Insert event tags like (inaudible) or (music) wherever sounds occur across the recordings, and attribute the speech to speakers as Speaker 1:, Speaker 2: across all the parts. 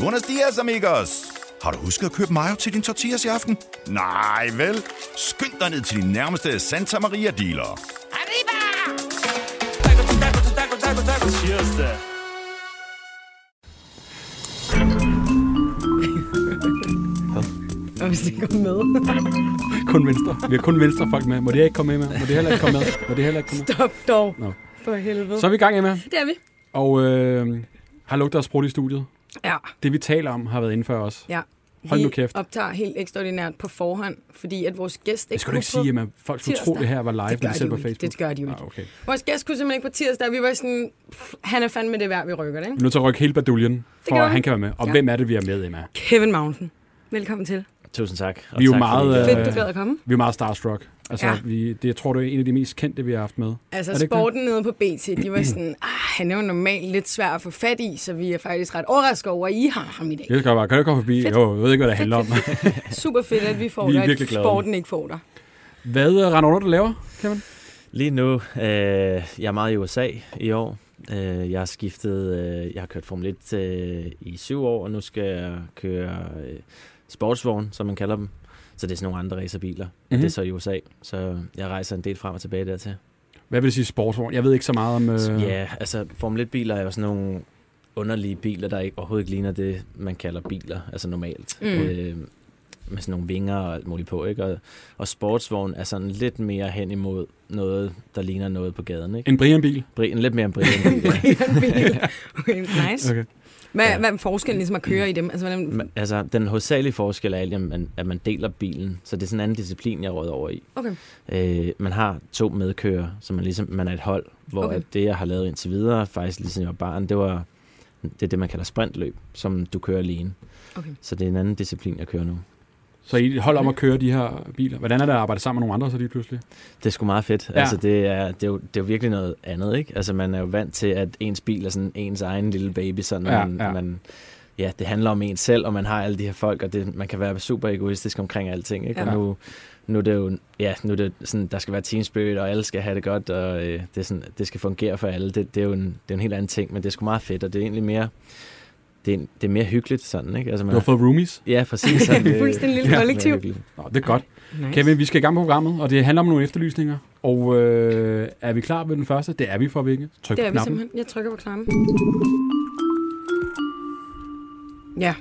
Speaker 1: Buenos dias, amigos! Har du husket at købe mayo til din tortillas i aften? Nej, vel? Skynd dig ned til din nærmeste Santa Maria dealer.
Speaker 2: Cheers da.
Speaker 3: Og hvis det går med.
Speaker 4: Kun venstre. Vi har kun venstre folk med. Må det ikke komme med? Må det heller ikke komme med? Må det heller ikke komme med?
Speaker 3: Stop dog.
Speaker 4: Nå.
Speaker 3: For helvede.
Speaker 4: Så er vi i gang, Emma.
Speaker 3: Det er vi.
Speaker 4: Og øh, har lugtet af sprudt i studiet.
Speaker 3: Ja.
Speaker 4: Det, vi taler om, har været inden før os.
Speaker 3: ja.
Speaker 4: Hold nu
Speaker 3: Vi
Speaker 4: kæft.
Speaker 3: optager helt ekstraordinært på forhånd, fordi at vores gæst ikke
Speaker 4: Det skal du ikke sige,
Speaker 3: kunne
Speaker 4: Emma. Folk skulle tro,
Speaker 3: tirsdag.
Speaker 4: det her var live,
Speaker 3: Det
Speaker 4: når
Speaker 3: gør
Speaker 4: vi
Speaker 3: de
Speaker 4: selv
Speaker 3: jo
Speaker 4: på
Speaker 3: ikke.
Speaker 4: Facebook.
Speaker 3: Det gør de jo ikke.
Speaker 4: Ah, okay.
Speaker 3: Vores gæst kunne simpelthen ikke på tirsdag, vi var sådan, pff, han er fandme det værd, vi rykker det,
Speaker 4: Vi
Speaker 3: ikke?
Speaker 4: er nødt til at rykke hele baduljen, for
Speaker 3: gør
Speaker 4: at
Speaker 3: vi.
Speaker 4: han kan være med. Og
Speaker 3: Ja.
Speaker 4: hvem er det, vi er med, Emma?
Speaker 3: Kevin Mountain, velkommen til.
Speaker 2: Tusind tak. Og
Speaker 4: Vi er jo
Speaker 2: tak,
Speaker 4: meget,
Speaker 2: fordi,
Speaker 4: øh,
Speaker 3: Fedt, du gad at komme.
Speaker 4: Vi er meget starstruck. Altså,
Speaker 3: Ja.
Speaker 4: vi, det, jeg tror, det er en af de mest kendte, vi har haft med.
Speaker 3: Altså
Speaker 4: Er det ikke
Speaker 3: sporten nede på BT, de var sådan, ah, han er jo normalt lidt svær at få fat i, så vi er faktisk ret overrasket over, at I har ham i
Speaker 4: (laughs)
Speaker 3: dag.
Speaker 4: Jeg skal bare, kan du komme forbi?
Speaker 3: Fedt.
Speaker 4: Jo, jeg ved ikke, hvad det handler om.
Speaker 3: Super fedt, at vi får
Speaker 4: Vi er
Speaker 3: dig,
Speaker 4: virkelig
Speaker 3: at
Speaker 4: glade.
Speaker 3: sporten ikke får dig.
Speaker 4: Hvad øh, render du, du laver, Kevin?
Speaker 2: Lige nu, øh, jeg er meget i USA i år. Øh, jeg har skiftet, øh, jeg har kørt Formel 1 øh, i syv år, og nu skal jeg køre øh, sportsvogn, som man kalder dem. Så det er sådan nogle andre racerbiler. Mm-hmm.
Speaker 4: Mhm.
Speaker 2: Det er så i USA, så jeg rejser en del frem og tilbage dertil.
Speaker 4: Hvad vil det sige sportsvogn? Jeg ved ikke så meget om... Øh...
Speaker 2: Øh. Ja, altså Formel 1-biler er jo sådan nogle underlige biler, der ikke, overhovedet ikke ligner det, man kalder biler, altså normalt.
Speaker 3: Mm.
Speaker 2: Mm. Øh, med sådan nogle vinger og alt muligt på, ikke? Og, og sportsvogn er sådan lidt mere hen imod noget, der ligner noget på gaden, ikke?
Speaker 4: En Brian-bil.
Speaker 2: Bri- En
Speaker 3: (laughs)
Speaker 2: lidt mere en Brian. (laughs)
Speaker 3: okay, nice.
Speaker 4: Okay.
Speaker 3: Hvad,
Speaker 2: Ja.
Speaker 3: hvad er forskellen ligesom at køre i dem? Altså, hvordan...
Speaker 2: Men, altså, den hovedsagelige forskel er, egentlig, at man, at man deler bilen, så det er sådan en anden disciplin, jeg råder over i.
Speaker 3: Okay.
Speaker 2: Øh, man har to medkører, så man, ligesom, man er et hold, hvor
Speaker 3: Okay.
Speaker 2: okay. det, jeg har lavet indtil videre, faktisk ligesom jeg var barn, det var det, er det man kalder sprintløb, som du kører alene.
Speaker 3: Okay.
Speaker 2: Så det er en anden disciplin, jeg kører nu.
Speaker 4: Så I holder om at køre de her biler. Hvordan er det at arbejde sammen med nogle andre så lige pludselig?
Speaker 2: Det er sgu meget fedt.
Speaker 4: Ja.
Speaker 2: Ja. Altså, det er, det, er jo, det er jo virkelig noget andet, ikke? Altså, man er jo vant til, at ens bil er sådan ens egen lille baby, sådan,
Speaker 4: Ja,
Speaker 2: ja, man,
Speaker 4: ja.
Speaker 2: ja. man ja, det handler om en selv, og man har alle de her folk, og det, man kan være super egoistisk omkring alting, ikke? Ja. Og
Speaker 4: Ja.
Speaker 2: nu, nu er det jo, ja, nu er det sådan, der skal være team spirit, og alle skal have det godt, og øh, det, er sådan, det skal fungere for alle. Det, det er jo en, det er en helt anden ting, men det er sgu meget fedt, og det er egentlig mere, det er, det er mere hyggeligt sådan, ikke? Altså,
Speaker 4: Du
Speaker 2: man,
Speaker 4: har fået roomies.
Speaker 2: ja,
Speaker 3: (laughs)
Speaker 2: præcis. Sådan, det-
Speaker 3: Fuldstændig en lille
Speaker 2: det er mere
Speaker 3: kollektiv.
Speaker 2: hyggeligt.
Speaker 4: Nå, det er godt.
Speaker 3: Nice.
Speaker 4: Kevin, vi skal i gang med programmet, og det handler om nogle efterlysninger. Og øh, er vi klar ved den første? Det er vi for, ikke? Tryk
Speaker 3: Det
Speaker 4: på
Speaker 3: er vi
Speaker 4: knappen.
Speaker 3: simpelthen. Jeg trykker på knappen. Ja.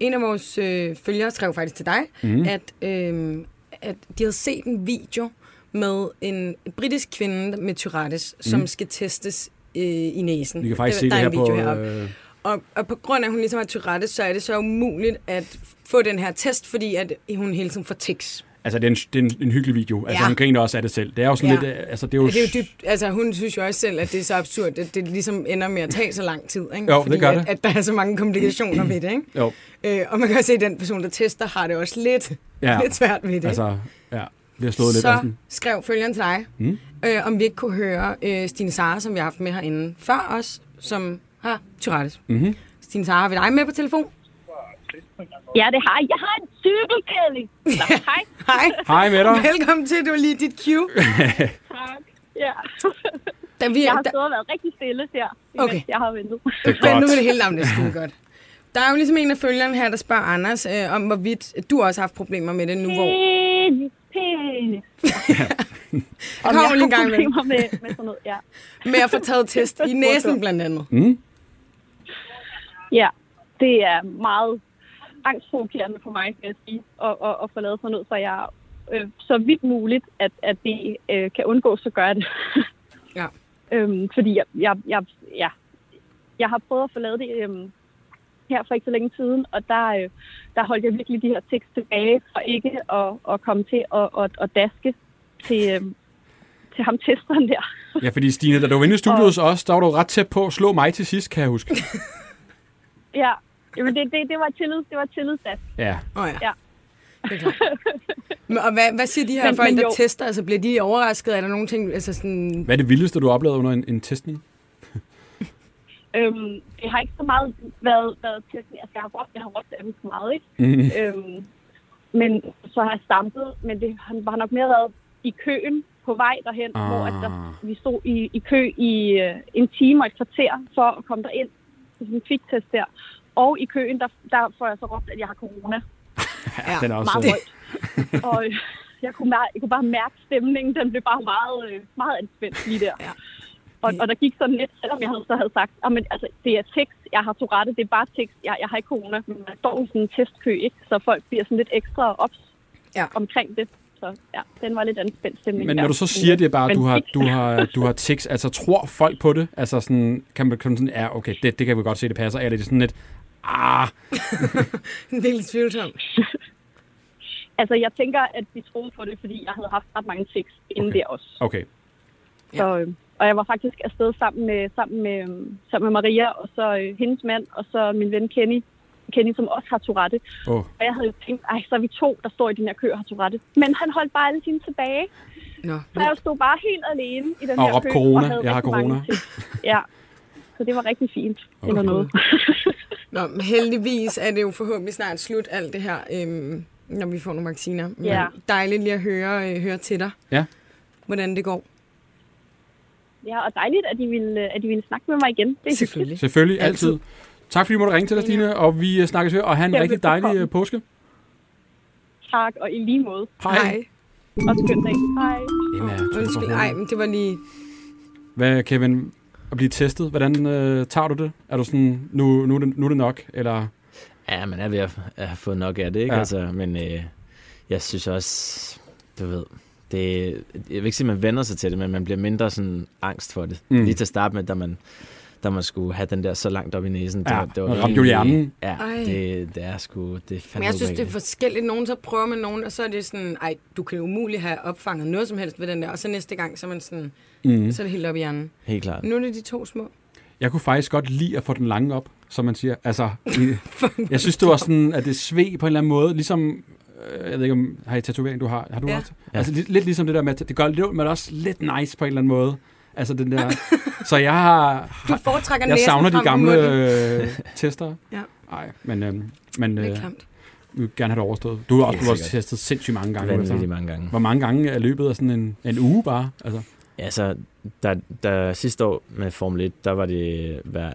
Speaker 3: En af vores øh, følgere skrev faktisk til dig,
Speaker 4: Mhm.
Speaker 3: mm. at, øh, at de havde set en video med en britisk kvinde med Tourettes, som
Speaker 4: Mm.
Speaker 3: skal testes øh, i næsen.
Speaker 4: Vi kan faktisk
Speaker 3: der,
Speaker 4: se det
Speaker 3: der er
Speaker 4: her
Speaker 3: en video
Speaker 4: på...
Speaker 3: heroppe.
Speaker 4: Øh,
Speaker 3: Og, og på grund af, at hun ligesom har Tourettes, så er det så umuligt at få den her test, fordi at hun hele tiden får tics.
Speaker 4: altså, det er en, det er en, en hyggelig video. Altså,
Speaker 3: Ja.
Speaker 4: hun griner også af det selv. Det er jo sådan
Speaker 3: Ja.
Speaker 4: lidt... øh, Altså, det er jo,
Speaker 3: Og det er jo dybt, altså hun synes jo også selv, at det er så absurd, at det ligesom ender med at tage så lang tid, ikke?
Speaker 4: Jo, det
Speaker 3: Fordi
Speaker 4: gør
Speaker 3: at,
Speaker 4: det.
Speaker 3: at der er så mange komplikationer ved det, ikke?
Speaker 4: Jo,
Speaker 3: Øh, og man kan også se, at den person, der tester, har det også lidt,
Speaker 4: ja.
Speaker 3: ja. (laughs) lidt svært ved det.
Speaker 4: Altså, ja. Vi har slået lidt
Speaker 3: så
Speaker 4: af sådan.
Speaker 3: skrev følgeren til dig,
Speaker 4: Mm.
Speaker 3: mm. øh, om vi ikke kunne høre øh, Stine Sara, som vi har haft med herinde før os, som har Tourettes.
Speaker 4: Mhm.
Speaker 3: Stine Sara, har vi dig med på telefon?
Speaker 5: Ja, det har jeg. Jeg har en
Speaker 3: (laughs)
Speaker 5: cykelkælling. Nå, hej.
Speaker 3: Hej.
Speaker 4: Hej med dig.
Speaker 3: Velkommen til, det var lige dit cue.
Speaker 5: Tak. Ja.
Speaker 3: (laughs) Da vi,
Speaker 5: Jeg har
Speaker 3: da,
Speaker 5: stået og været rigtig stille her,
Speaker 3: Okay.
Speaker 5: okay. jeg har ventet.
Speaker 3: (laughs) Men nu er det hele jamen, det er skide godt. Der er jo ligesom en af følgerne her, der spørger Anders, øh, om hvorvidt du også har haft problemer med det nu, hvor...
Speaker 5: Mm. Penis, penis.
Speaker 3: Der kommer lige en gang med,
Speaker 5: med, med sådan noget, ja.
Speaker 3: med at få taget test
Speaker 5: (laughs)
Speaker 3: i næsen, blandt andet.
Speaker 4: Mm.
Speaker 5: Ja, det er meget angstprovokerende for mig, skal jeg sige, at, at, at få lavet sådan noget, så jeg øh, så vidt muligt, at, at det øh, kan undgås, så gør jeg det. (laughs)
Speaker 3: Ja.
Speaker 5: Øhm, fordi jeg, jeg, jeg, ja, jeg har prøvet at få lavet det øhm, her for ikke så længe siden, og der, øh, der holdt jeg virkelig de her tekst tilbage for ikke at, at komme til at, at, at daske til, øhm, til ham testeren der.
Speaker 4: Ja, fordi Stine, da du var inde i studiet hos os, der var du ret tæt på at slå mig til sidst, kan jeg huske.
Speaker 5: Ja, Jamen, det, det, det var tillids, det var tillidsdask.
Speaker 4: Ja.
Speaker 3: Åh oh, ja.
Speaker 5: Ja.
Speaker 3: Det er klart. Men, og hvad, hvad siger de her
Speaker 5: Men-
Speaker 3: folk,
Speaker 5: men
Speaker 3: der
Speaker 5: jo.
Speaker 3: tester? Altså, bliver de overrasket? Er der nogle ting, altså sådan...
Speaker 4: Hvad er det vildeste, du har oplevet under en, en testning?
Speaker 5: Øhm, det har ikke så meget været, været til, altså jeg har råbt, jeg har råbt af dem så meget, ikke?
Speaker 4: Mm.
Speaker 5: Øhm, men så har jeg stampet, men det han har nok mere været i køen på vej derhen,
Speaker 4: Ah.
Speaker 5: ah. hvor at der, vi stod i, i kø i øh, en time og et kvarter for at komme derind til sådan en kviktest der. Og i køen, der, der får jeg så råbt, at jeg har corona.
Speaker 4: (laughs) Ja, den er også
Speaker 5: meget
Speaker 4: sød.
Speaker 5: højt. Og øh, jeg kunne, mær- jeg kunne bare mærke stemningen, den blev bare meget, øh, meget anspændt lige der.
Speaker 3: Ja.
Speaker 5: Og, og der gik sådan lidt, selvom jeg havde, så havde sagt, at altså, det er tekst, jeg har Tourette, det er bare tekst, jeg, jeg har ikke corona, men man står i sådan en testkø, ikke? så folk bliver sådan lidt ekstra ops
Speaker 3: Ja.
Speaker 5: omkring det. Så ja, den var lidt anspændt stemning.
Speaker 4: Men
Speaker 5: der.
Speaker 4: når du så siger det bare, at
Speaker 5: Men
Speaker 4: du har,
Speaker 5: tekst-
Speaker 4: du har, du har tics, altså tror folk på det? Altså sådan, kan man kan man sådan, ja, okay, det, det kan vi godt se, det passer. Eller er det sådan lidt,
Speaker 5: (laughs)
Speaker 4: ah,
Speaker 3: (laughs) Det er lidt tvivlsomt.
Speaker 5: Altså, jeg tænker, at vi troede på det, fordi jeg havde haft ret mange tekst inden okay.
Speaker 4: Okay.
Speaker 5: der også.
Speaker 4: okay.
Speaker 5: Så, øh, og jeg var faktisk afsted sammen med, sammen med, øh, sammen med Maria, og så øh, hendes mand, og så min ven Kenny, Kenny, som også har Tourette.
Speaker 4: Oh.
Speaker 5: Og jeg havde jo tænkt, ej, så er vi to, der står i den her kø og har Tourette. Men han holdt bare alle sine tilbage,
Speaker 3: Nå,
Speaker 5: så jeg stod bare helt alene i den
Speaker 4: Og
Speaker 5: her
Speaker 4: råbte
Speaker 5: kø.
Speaker 4: corona,
Speaker 5: havde
Speaker 4: jeg har
Speaker 5: rigtig mange
Speaker 4: corona.
Speaker 5: tics. Ja, så det var rigtig fint. Okay. Eller noget. (laughs)
Speaker 3: Nå, men heldigvis er det jo forhåbentlig snart slut alt det her, øhm, når vi får nogle vacciner. Men
Speaker 5: Ja.
Speaker 3: Dejligt lige at høre, øh, høre til dig,
Speaker 4: Ja,
Speaker 3: hvordan det går.
Speaker 5: Ja, og dejligt, at I ville, at I ville snakke med mig igen. Det er hyggeligt.
Speaker 3: Selvfølgelig.
Speaker 4: selvfølgelig, altid.
Speaker 3: Altid.
Speaker 4: altid. Tak fordi du måtte ringe til dig, Stine, og vi øh, snakkes her, og have en
Speaker 5: Ja,
Speaker 4: rigtig dejlig
Speaker 5: velbekomme.
Speaker 4: øh, påske.
Speaker 5: Tak, og i lige måde.
Speaker 3: Hej.
Speaker 5: Og skøn dag. Hej.
Speaker 4: Emma, du er for
Speaker 3: Undskyld.
Speaker 4: hurtig.
Speaker 3: Ej, men det var lige...
Speaker 4: Hvad, Kevin, at blive testet, hvordan øh, tager du det? Er du sådan, nu, nu, er det, nu er det nok, eller...
Speaker 2: Ja, man er ved at, at have fået nok af det, ikke?
Speaker 4: Ja.
Speaker 2: Ja. Altså, men øh, jeg synes også, du ved, det, jeg vil ikke sige, at man vender sig til det, men man bliver mindre sådan angst for det.
Speaker 4: Mm.
Speaker 2: Mm. Lige til at starte med, da man, da man skulle have den der så langt op i næsen.
Speaker 4: Ja,
Speaker 2: var- var
Speaker 4: man ramte
Speaker 2: rimelig-
Speaker 4: jo hjernen.
Speaker 2: Ja,
Speaker 3: Ej.
Speaker 2: det, det, er sgu, det er fandme
Speaker 3: Men jeg synes, det er
Speaker 2: ubehageligt.
Speaker 3: forskelligt. Nogen så prøver man nogen, og så er det sådan, ej, du kan jo umuligt have opfanget noget som helst ved den der. Og så næste gang, så er man sådan,
Speaker 4: Mm.
Speaker 3: så er det helt op i hjernen.
Speaker 2: Helt klart.
Speaker 3: Nu er det de to små.
Speaker 4: Jeg kunne faktisk godt lide at få den lange op, som man siger.
Speaker 3: (laughs)
Speaker 4: Altså, i- jeg synes, det var sådan, at det sved på en eller anden måde. Ligesom, øh, jeg ved ikke, om har I tatovering, du har? Har du
Speaker 3: Ja.
Speaker 4: også? Altså, lidt, lidt ligesom det der med, at det gør lidt ondt, men også lidt nice på en eller anden måde. Altså,
Speaker 3: (laughs)
Speaker 4: den der... Så jeg har...
Speaker 3: Du foretrækker
Speaker 4: Jeg
Speaker 3: næsen
Speaker 4: savner de
Speaker 3: frem for
Speaker 4: gamle
Speaker 3: munden.
Speaker 4: øh, tester.
Speaker 3: Ja.
Speaker 4: Nej, men, øh, men
Speaker 3: Det er
Speaker 4: øh,
Speaker 3: klamt.
Speaker 4: vi vil gerne have det overstået. Du har også
Speaker 2: Ja,
Speaker 4: du har også
Speaker 2: sikkert.
Speaker 4: testet sindssygt mange gange. nu
Speaker 2: Vanvittigt
Speaker 4: efterhånden.
Speaker 2: mange gange.
Speaker 4: Hvor mange gange er løbet af sådan en, en uge bare? Altså,
Speaker 2: Altså, der, der sidste år med Formel 1, der var det hver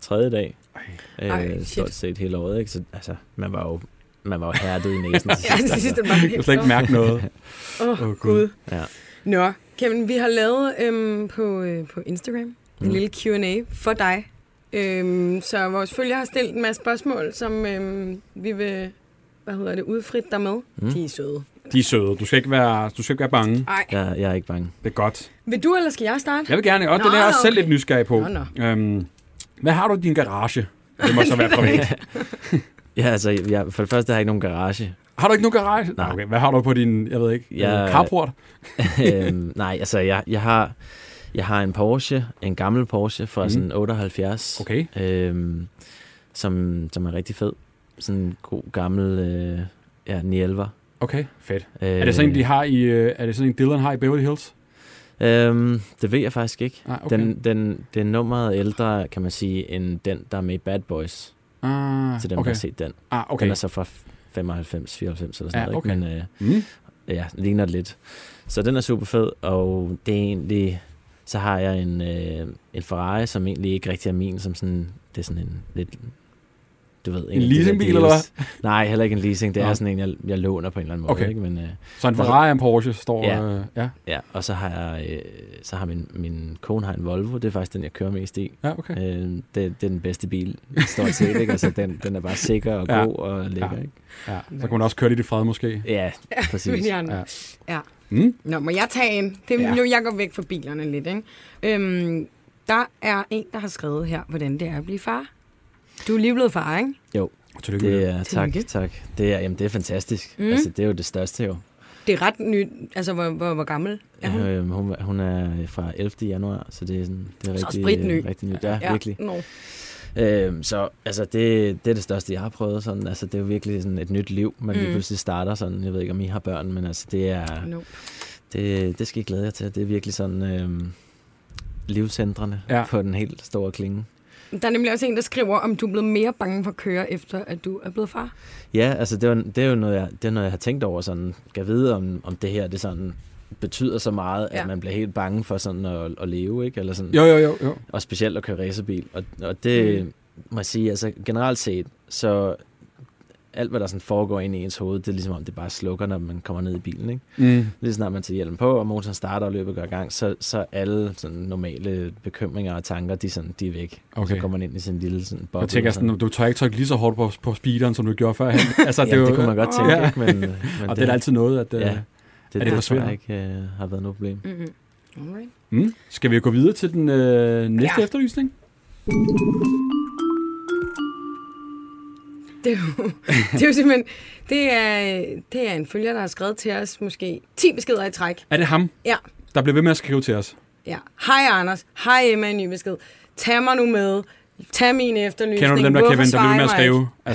Speaker 2: tredje dag. Øh,
Speaker 3: Ej, shit.
Speaker 2: stort set hele året, ikke? Så, altså, man var jo, man var jo hærdet i næsen. til
Speaker 3: (laughs) Ja,
Speaker 2: sidst,
Speaker 3: det
Speaker 2: altså.
Speaker 3: sidste var helt
Speaker 4: jeg kan slet ikke mærke noget.
Speaker 3: Åh,
Speaker 4: Åh,
Speaker 3: oh,
Speaker 4: Gud.
Speaker 3: oh, Gud.
Speaker 2: Ja.
Speaker 3: Nå, Kevin, vi har lavet øhm, på, øh, på Instagram en
Speaker 2: Mm.
Speaker 3: lille Q&A for dig. Øhm, så vores følgere har stillet en masse spørgsmål, som øhm, vi vil hvad hedder det, udfrit dig med. Mm. De er søde.
Speaker 4: De er søde. Du skal ikke være, du skal ikke være bange.
Speaker 3: Ej. Ja.
Speaker 2: Jeg, jeg er ikke bange.
Speaker 4: Det er godt.
Speaker 3: Vil du, eller skal jeg starte?
Speaker 4: Jeg vil gerne, og
Speaker 3: Nå,
Speaker 4: det er jeg også
Speaker 3: okay.
Speaker 4: selv lidt nysgerrig på.
Speaker 3: Nå, nå.
Speaker 4: Øhm, hvad har du i din garage? Det må så være privat.
Speaker 2: (laughs) Ja, altså, jeg, for det første har jeg ikke nogen garage.
Speaker 4: Har du ikke nogen garage?
Speaker 2: Nej.
Speaker 4: Okay, hvad har du på din, jeg ved ikke,
Speaker 2: Jeg-
Speaker 4: øh, carport?
Speaker 2: (laughs) øhm, nej, altså, jeg, jeg har... Jeg har en Porsche, en gammel Porsche fra
Speaker 4: Mhm.
Speaker 2: mm. sådan 78,
Speaker 4: Okay.
Speaker 2: øhm, som, som er rigtig fed. Sådan en god gammel øh, ja, 911.
Speaker 4: Okay, fedt.
Speaker 2: Øh,
Speaker 4: Er det sådan en, de har i, øh, er det sådan en Dylan har i Beverly Hills?
Speaker 2: Øhm, det ved jeg faktisk ikke.
Speaker 4: Nej, Ah, okay.
Speaker 2: Okay. Den, den, den nummeret er ældre, kan man sige, end den, der er med i Bad Boys,
Speaker 4: ah,
Speaker 2: til dem, der
Speaker 4: okay.
Speaker 2: har set den.
Speaker 4: Ah,
Speaker 2: Okay.
Speaker 4: okay.
Speaker 2: Den er så fra 95, 94 eller sådan
Speaker 4: Ja,
Speaker 2: noget,
Speaker 4: okay.
Speaker 2: ikke? men øh,
Speaker 4: Mm.
Speaker 2: ja, ligner det lidt. Så den er super fed, og det er egentlig... Så har jeg en, øh, en Ferrari, som egentlig ikke rigtig er min, som sådan... Det er sådan en lidt... Du ved,
Speaker 4: En
Speaker 2: af de der
Speaker 4: leasingbil,
Speaker 2: deals.
Speaker 4: eller hvad?
Speaker 2: Nej, heller ikke en leasing. Det
Speaker 4: Nå.
Speaker 2: er sådan en, jeg, jeg låner på en eller anden måde.
Speaker 4: Okay.
Speaker 2: Ikke? Men, øh,
Speaker 4: Så en Ferrari og en Porsche står...
Speaker 2: Ja.
Speaker 4: Øh, ja.
Speaker 2: ja, og så har, jeg, øh, så har min, min kone har en Volvo. Det er faktisk den, jeg kører mest i.
Speaker 4: ja, okay.
Speaker 2: Øh, det, det er den bedste bil, stort set, ikke? Altså, den, den er bare sikker og
Speaker 4: Ja.
Speaker 2: god og lækker,
Speaker 4: Ja.
Speaker 2: ikke?
Speaker 4: Ja. Så kan man også køre lidt i fred måske.
Speaker 2: Ja,
Speaker 3: (laughs)
Speaker 2: præcis.
Speaker 3: Min hjerne.
Speaker 4: Ja.
Speaker 3: (laughs) Ja. ja.
Speaker 4: Mm.
Speaker 3: Nå, må jeg tage en? Det
Speaker 4: Ja.
Speaker 3: er nu, jeg går væk fra bilerne lidt, ikke? Øhm, der er en, der har skrevet her, hvordan det er at blive far. Du er lige blevet far, ikke?
Speaker 2: Jo,
Speaker 4: Tillykke med
Speaker 2: det
Speaker 4: det.
Speaker 2: er, tak,
Speaker 3: Tillykke.
Speaker 2: tak. Det er, jamen, det er fantastisk.
Speaker 3: Mm.
Speaker 2: Mm. Altså, det er jo det største jo.
Speaker 3: Det er ret nyt. Altså, hvor, hvor, hvor gammel er hun?
Speaker 2: Øhm, hun, hun er fra 11. januar, så det er, sådan, det er
Speaker 3: Så
Speaker 2: rigtig, øh,
Speaker 3: spritny.
Speaker 2: rigtig nyt. Ja, ja. virkelig.
Speaker 3: Nå.
Speaker 2: Øhm, så altså, det, det er det største, jeg har prøvet. Sådan. Altså, det er jo virkelig sådan et nyt liv, man mm. lige
Speaker 3: Mm.
Speaker 2: pludselig starter sådan. Jeg ved ikke, om I har børn, men altså, det, er,
Speaker 3: No.
Speaker 2: det, det skal I glæde jer til. Det er virkelig sådan øhm, livscentrene
Speaker 4: Ja.
Speaker 2: ja. på den helt store klinge.
Speaker 3: Der er nemlig også en, der skriver, om du er blevet mere bange for at køre, efter at du er blevet far.
Speaker 2: Ja, altså det er, jo- det er jo noget, jeg, det er noget, jeg har tænkt over sådan. Kan vide, om, om det her det sådan betyder så meget, ja.
Speaker 3: Ja.
Speaker 2: at man bliver helt bange for sådan at, at leve, ikke? Eller sådan.
Speaker 4: Jo, jo, jo. jo.
Speaker 2: Og specielt at køre racerbil. Og, og det, mm. må jeg sige, altså generelt set, så alt, hvad der sådan foregår inde i ens hoved, det er ligesom om, det bare slukker, når man kommer ned i bilen. Ikke?
Speaker 4: Mm.
Speaker 2: Lige så snart man tager hjelmen på, og motoren starter, og løbet går i gang, så, så alle sådan normale bekymringer og tanker, de, er sådan, de er væk.
Speaker 4: Okay.
Speaker 2: Så kommer man ind i sin lille sådan, boble.
Speaker 4: Jeg tænker sådan, du tør ikke trykke lige så hårdt på, på speederen, som du gjorde før. (laughs) altså,
Speaker 2: det, ja, det kunne man godt tænke,
Speaker 4: Ja.
Speaker 2: ikke?
Speaker 4: (laughs)
Speaker 2: Men, men
Speaker 4: Og det er da altid noget, at...
Speaker 2: Ja.
Speaker 4: Ja.
Speaker 2: det,
Speaker 4: at det
Speaker 2: det, det
Speaker 4: forsvinder.
Speaker 2: jeg ikke øh, har været noget problem.
Speaker 3: Mm-hmm. Alright.
Speaker 4: Mm. Skal vi gå videre til den øh, næste ja.
Speaker 3: Ja.
Speaker 4: efterlysning?
Speaker 3: Det er,
Speaker 2: (laughs)
Speaker 3: jo, det er jo simpelthen... Det er, det er en følger, der har skrevet til os måske 10 beskeder i træk.
Speaker 4: Er det ham,
Speaker 3: Ja,
Speaker 4: der bliver ved med at skrive til os?
Speaker 3: ja. Hej Anders. Hej Emma, en ny besked. Tag mig nu med. Tag min efterlysning.
Speaker 4: Kender du dem der,
Speaker 3: Hvorfor
Speaker 4: Kevin, der bliver
Speaker 3: svarer
Speaker 4: ved med
Speaker 3: I
Speaker 4: at
Speaker 3: mig ikke?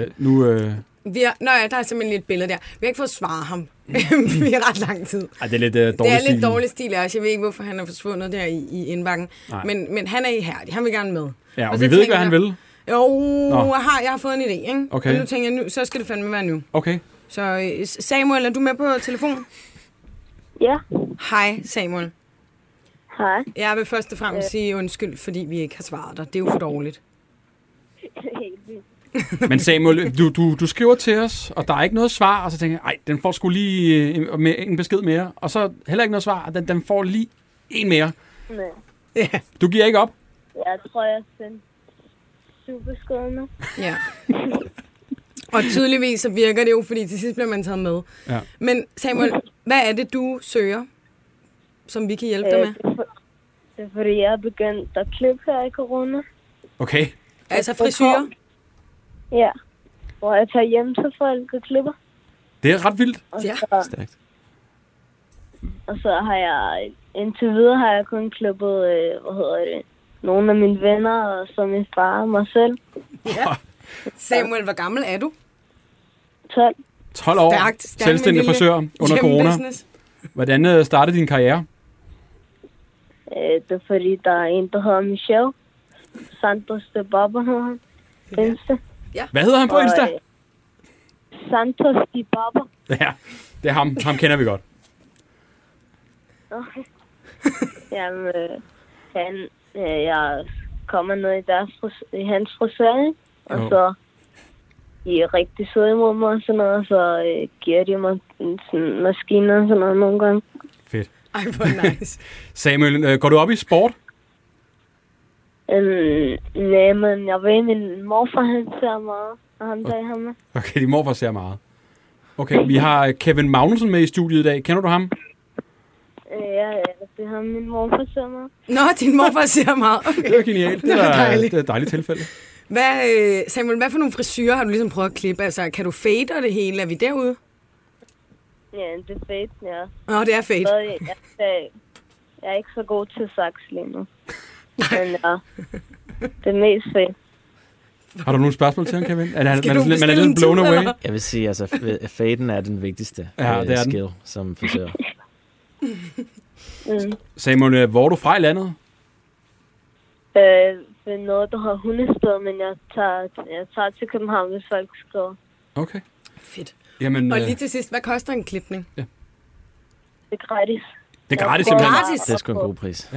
Speaker 2: (laughs)
Speaker 4: Altså, øh, nu... Øh,
Speaker 3: Vi har, nå ja, der er simpelthen lige et billede der. Vi har ikke fået svaret ham (laughs) i ret lang tid.
Speaker 4: ej, det er lidt øh, dårlig
Speaker 3: det er lidt
Speaker 4: stil.
Speaker 3: dårlig stil også. Jeg ved ikke, hvorfor han er forsvundet der i, i indbakken.
Speaker 4: Nej.
Speaker 3: Men, men han er ihærdig. Han vil gerne med.
Speaker 4: Ja, og,
Speaker 3: Og
Speaker 4: vi
Speaker 3: så
Speaker 4: ved ikke, hvad han
Speaker 3: tænker
Speaker 4: vil.
Speaker 3: Jo,
Speaker 4: Nå.
Speaker 3: jeg har, jeg har fået en idé, ikke?
Speaker 4: Okay.
Speaker 3: Og nu tænker jeg, nu, så skal det fandme være nu.
Speaker 4: Okay.
Speaker 3: Så øh, Samuel, er du med på telefon?
Speaker 6: Ja,
Speaker 3: Hej, Samuel.
Speaker 6: hej. Øh.
Speaker 3: Jeg vil først og fremmest sige undskyld, fordi vi ikke har svaret dig. Det er jo for
Speaker 6: (laughs)
Speaker 3: dårligt.
Speaker 4: Men Samuel, du, du, du skriver til os, og der er ikke noget svar, og så tænker jeg, ej, den får sgu lige øh, en, med- en besked mere. Og så heller ikke noget svar, og den, den får lige en mere.
Speaker 6: Nej.
Speaker 3: Ja.
Speaker 4: Du giver ikke op?
Speaker 6: Jeg tror, jeg sendte superskål nu.
Speaker 3: ja. Og tydeligvis så virker det jo, fordi til sidst bliver man taget med.
Speaker 4: Ja.
Speaker 3: Men Samuel, hvad er det, du søger, som vi kan hjælpe dig med?
Speaker 6: det, er for, det er fordi, jeg er begyndt at klippe her i corona.
Speaker 4: Okay.
Speaker 3: Altså
Speaker 6: tror-
Speaker 3: frisyrer?
Speaker 6: Ja. Hvor jeg tager hjem til folk og klipper.
Speaker 4: Det er ret vildt.
Speaker 6: Og,
Speaker 3: Ja.
Speaker 6: så,
Speaker 2: Stærkt.
Speaker 6: og så har jeg, indtil videre har jeg kun klippet, øh, hvad hedder det, nogle af mine venner, og så min far og mig selv.
Speaker 3: Samuel, hvor gammel er du?
Speaker 6: 12.
Speaker 4: 12 år,
Speaker 3: Stærkt. Stærkt med
Speaker 4: selvstændig
Speaker 3: lille
Speaker 4: frisør under
Speaker 3: Hjemme
Speaker 4: corona.
Speaker 3: business.
Speaker 4: Hvordan øh, startede din karriere?
Speaker 6: Øh, det er fordi, der er en, der hedder Michelle. Santos de Baba hedder han. På Insta.
Speaker 4: Hvad hedder han på Insta?
Speaker 6: Og, øh, Santos de Baba.
Speaker 4: (laughs) Ja, det er ham. Ham kender vi godt. (laughs)
Speaker 6: Jamen, øh, han, øh, jeg kommer ned i, deres, fris- i hans frisør, ikke? og
Speaker 4: Jo.
Speaker 6: så de er rigtig søde imod mig og sådan noget, og så øh, giver de mig en sådan, maskiner og sådan noget nogle gange.
Speaker 4: Fedt.
Speaker 3: Ej, hvor nice.
Speaker 4: Samuel, øh, går du op i sport?
Speaker 6: Øhm, nej, men jeg ved, min morfar han ser meget, og ham der er ham med.
Speaker 4: Okay, din morfar ser meget. Okay, vi har øh, Kevin Magnussen med i studiet i dag. Kender du ham?
Speaker 6: Øh, ja, ja, det er ham, min morfar ser meget.
Speaker 3: Nå, din morfar ser meget. Okay.
Speaker 4: Det er genialt. Det
Speaker 3: Det var
Speaker 4: er,
Speaker 3: dejligt.
Speaker 4: det er et dejligt tilfælde.
Speaker 3: Hvad, øh, Samuel, hvad for nogle frisyrer har du ligesom prøvet at klippe? Altså, kan du fade og det hele? Er vi derude? (laughs)
Speaker 6: Ja, det er fedt, ja.
Speaker 3: Nå, det er fade.
Speaker 6: Så øh, jeg, jeg, jeg, jeg er ikke så god til saks lige
Speaker 3: (laughs)
Speaker 6: nu. Men ja, det er mest fedt.
Speaker 4: Har du nogle spørgsmål til ham, Kevin? Er, han,
Speaker 3: Skal
Speaker 4: man,
Speaker 3: du
Speaker 4: er lidt, man
Speaker 3: bestille
Speaker 4: er lidt
Speaker 3: en
Speaker 4: blown
Speaker 3: tid,
Speaker 4: away.
Speaker 3: eller?
Speaker 2: Jeg vil sige, altså, f- faden er den vigtigste
Speaker 4: Ja,
Speaker 2: øh,
Speaker 4: det er den.
Speaker 2: skill
Speaker 3: (laughs)
Speaker 2: som frisør.
Speaker 6: Mm.
Speaker 4: Samuel, øh, hvor er du fra i landet?
Speaker 6: Øh, ved noget, der hedder hundested, men jeg tager, jeg tager til København, hvis folk skriver.
Speaker 4: Okay.
Speaker 3: Fedt.
Speaker 4: Jamen,
Speaker 3: Og
Speaker 4: øh,
Speaker 3: lige til sidst, hvad koster en klipning?
Speaker 6: Det er gratis.
Speaker 4: det er gratis
Speaker 6: Jeg prøver
Speaker 4: simpelthen.
Speaker 3: Gratis?
Speaker 6: bare
Speaker 2: Det er sgu en
Speaker 6: at få-
Speaker 2: god pris.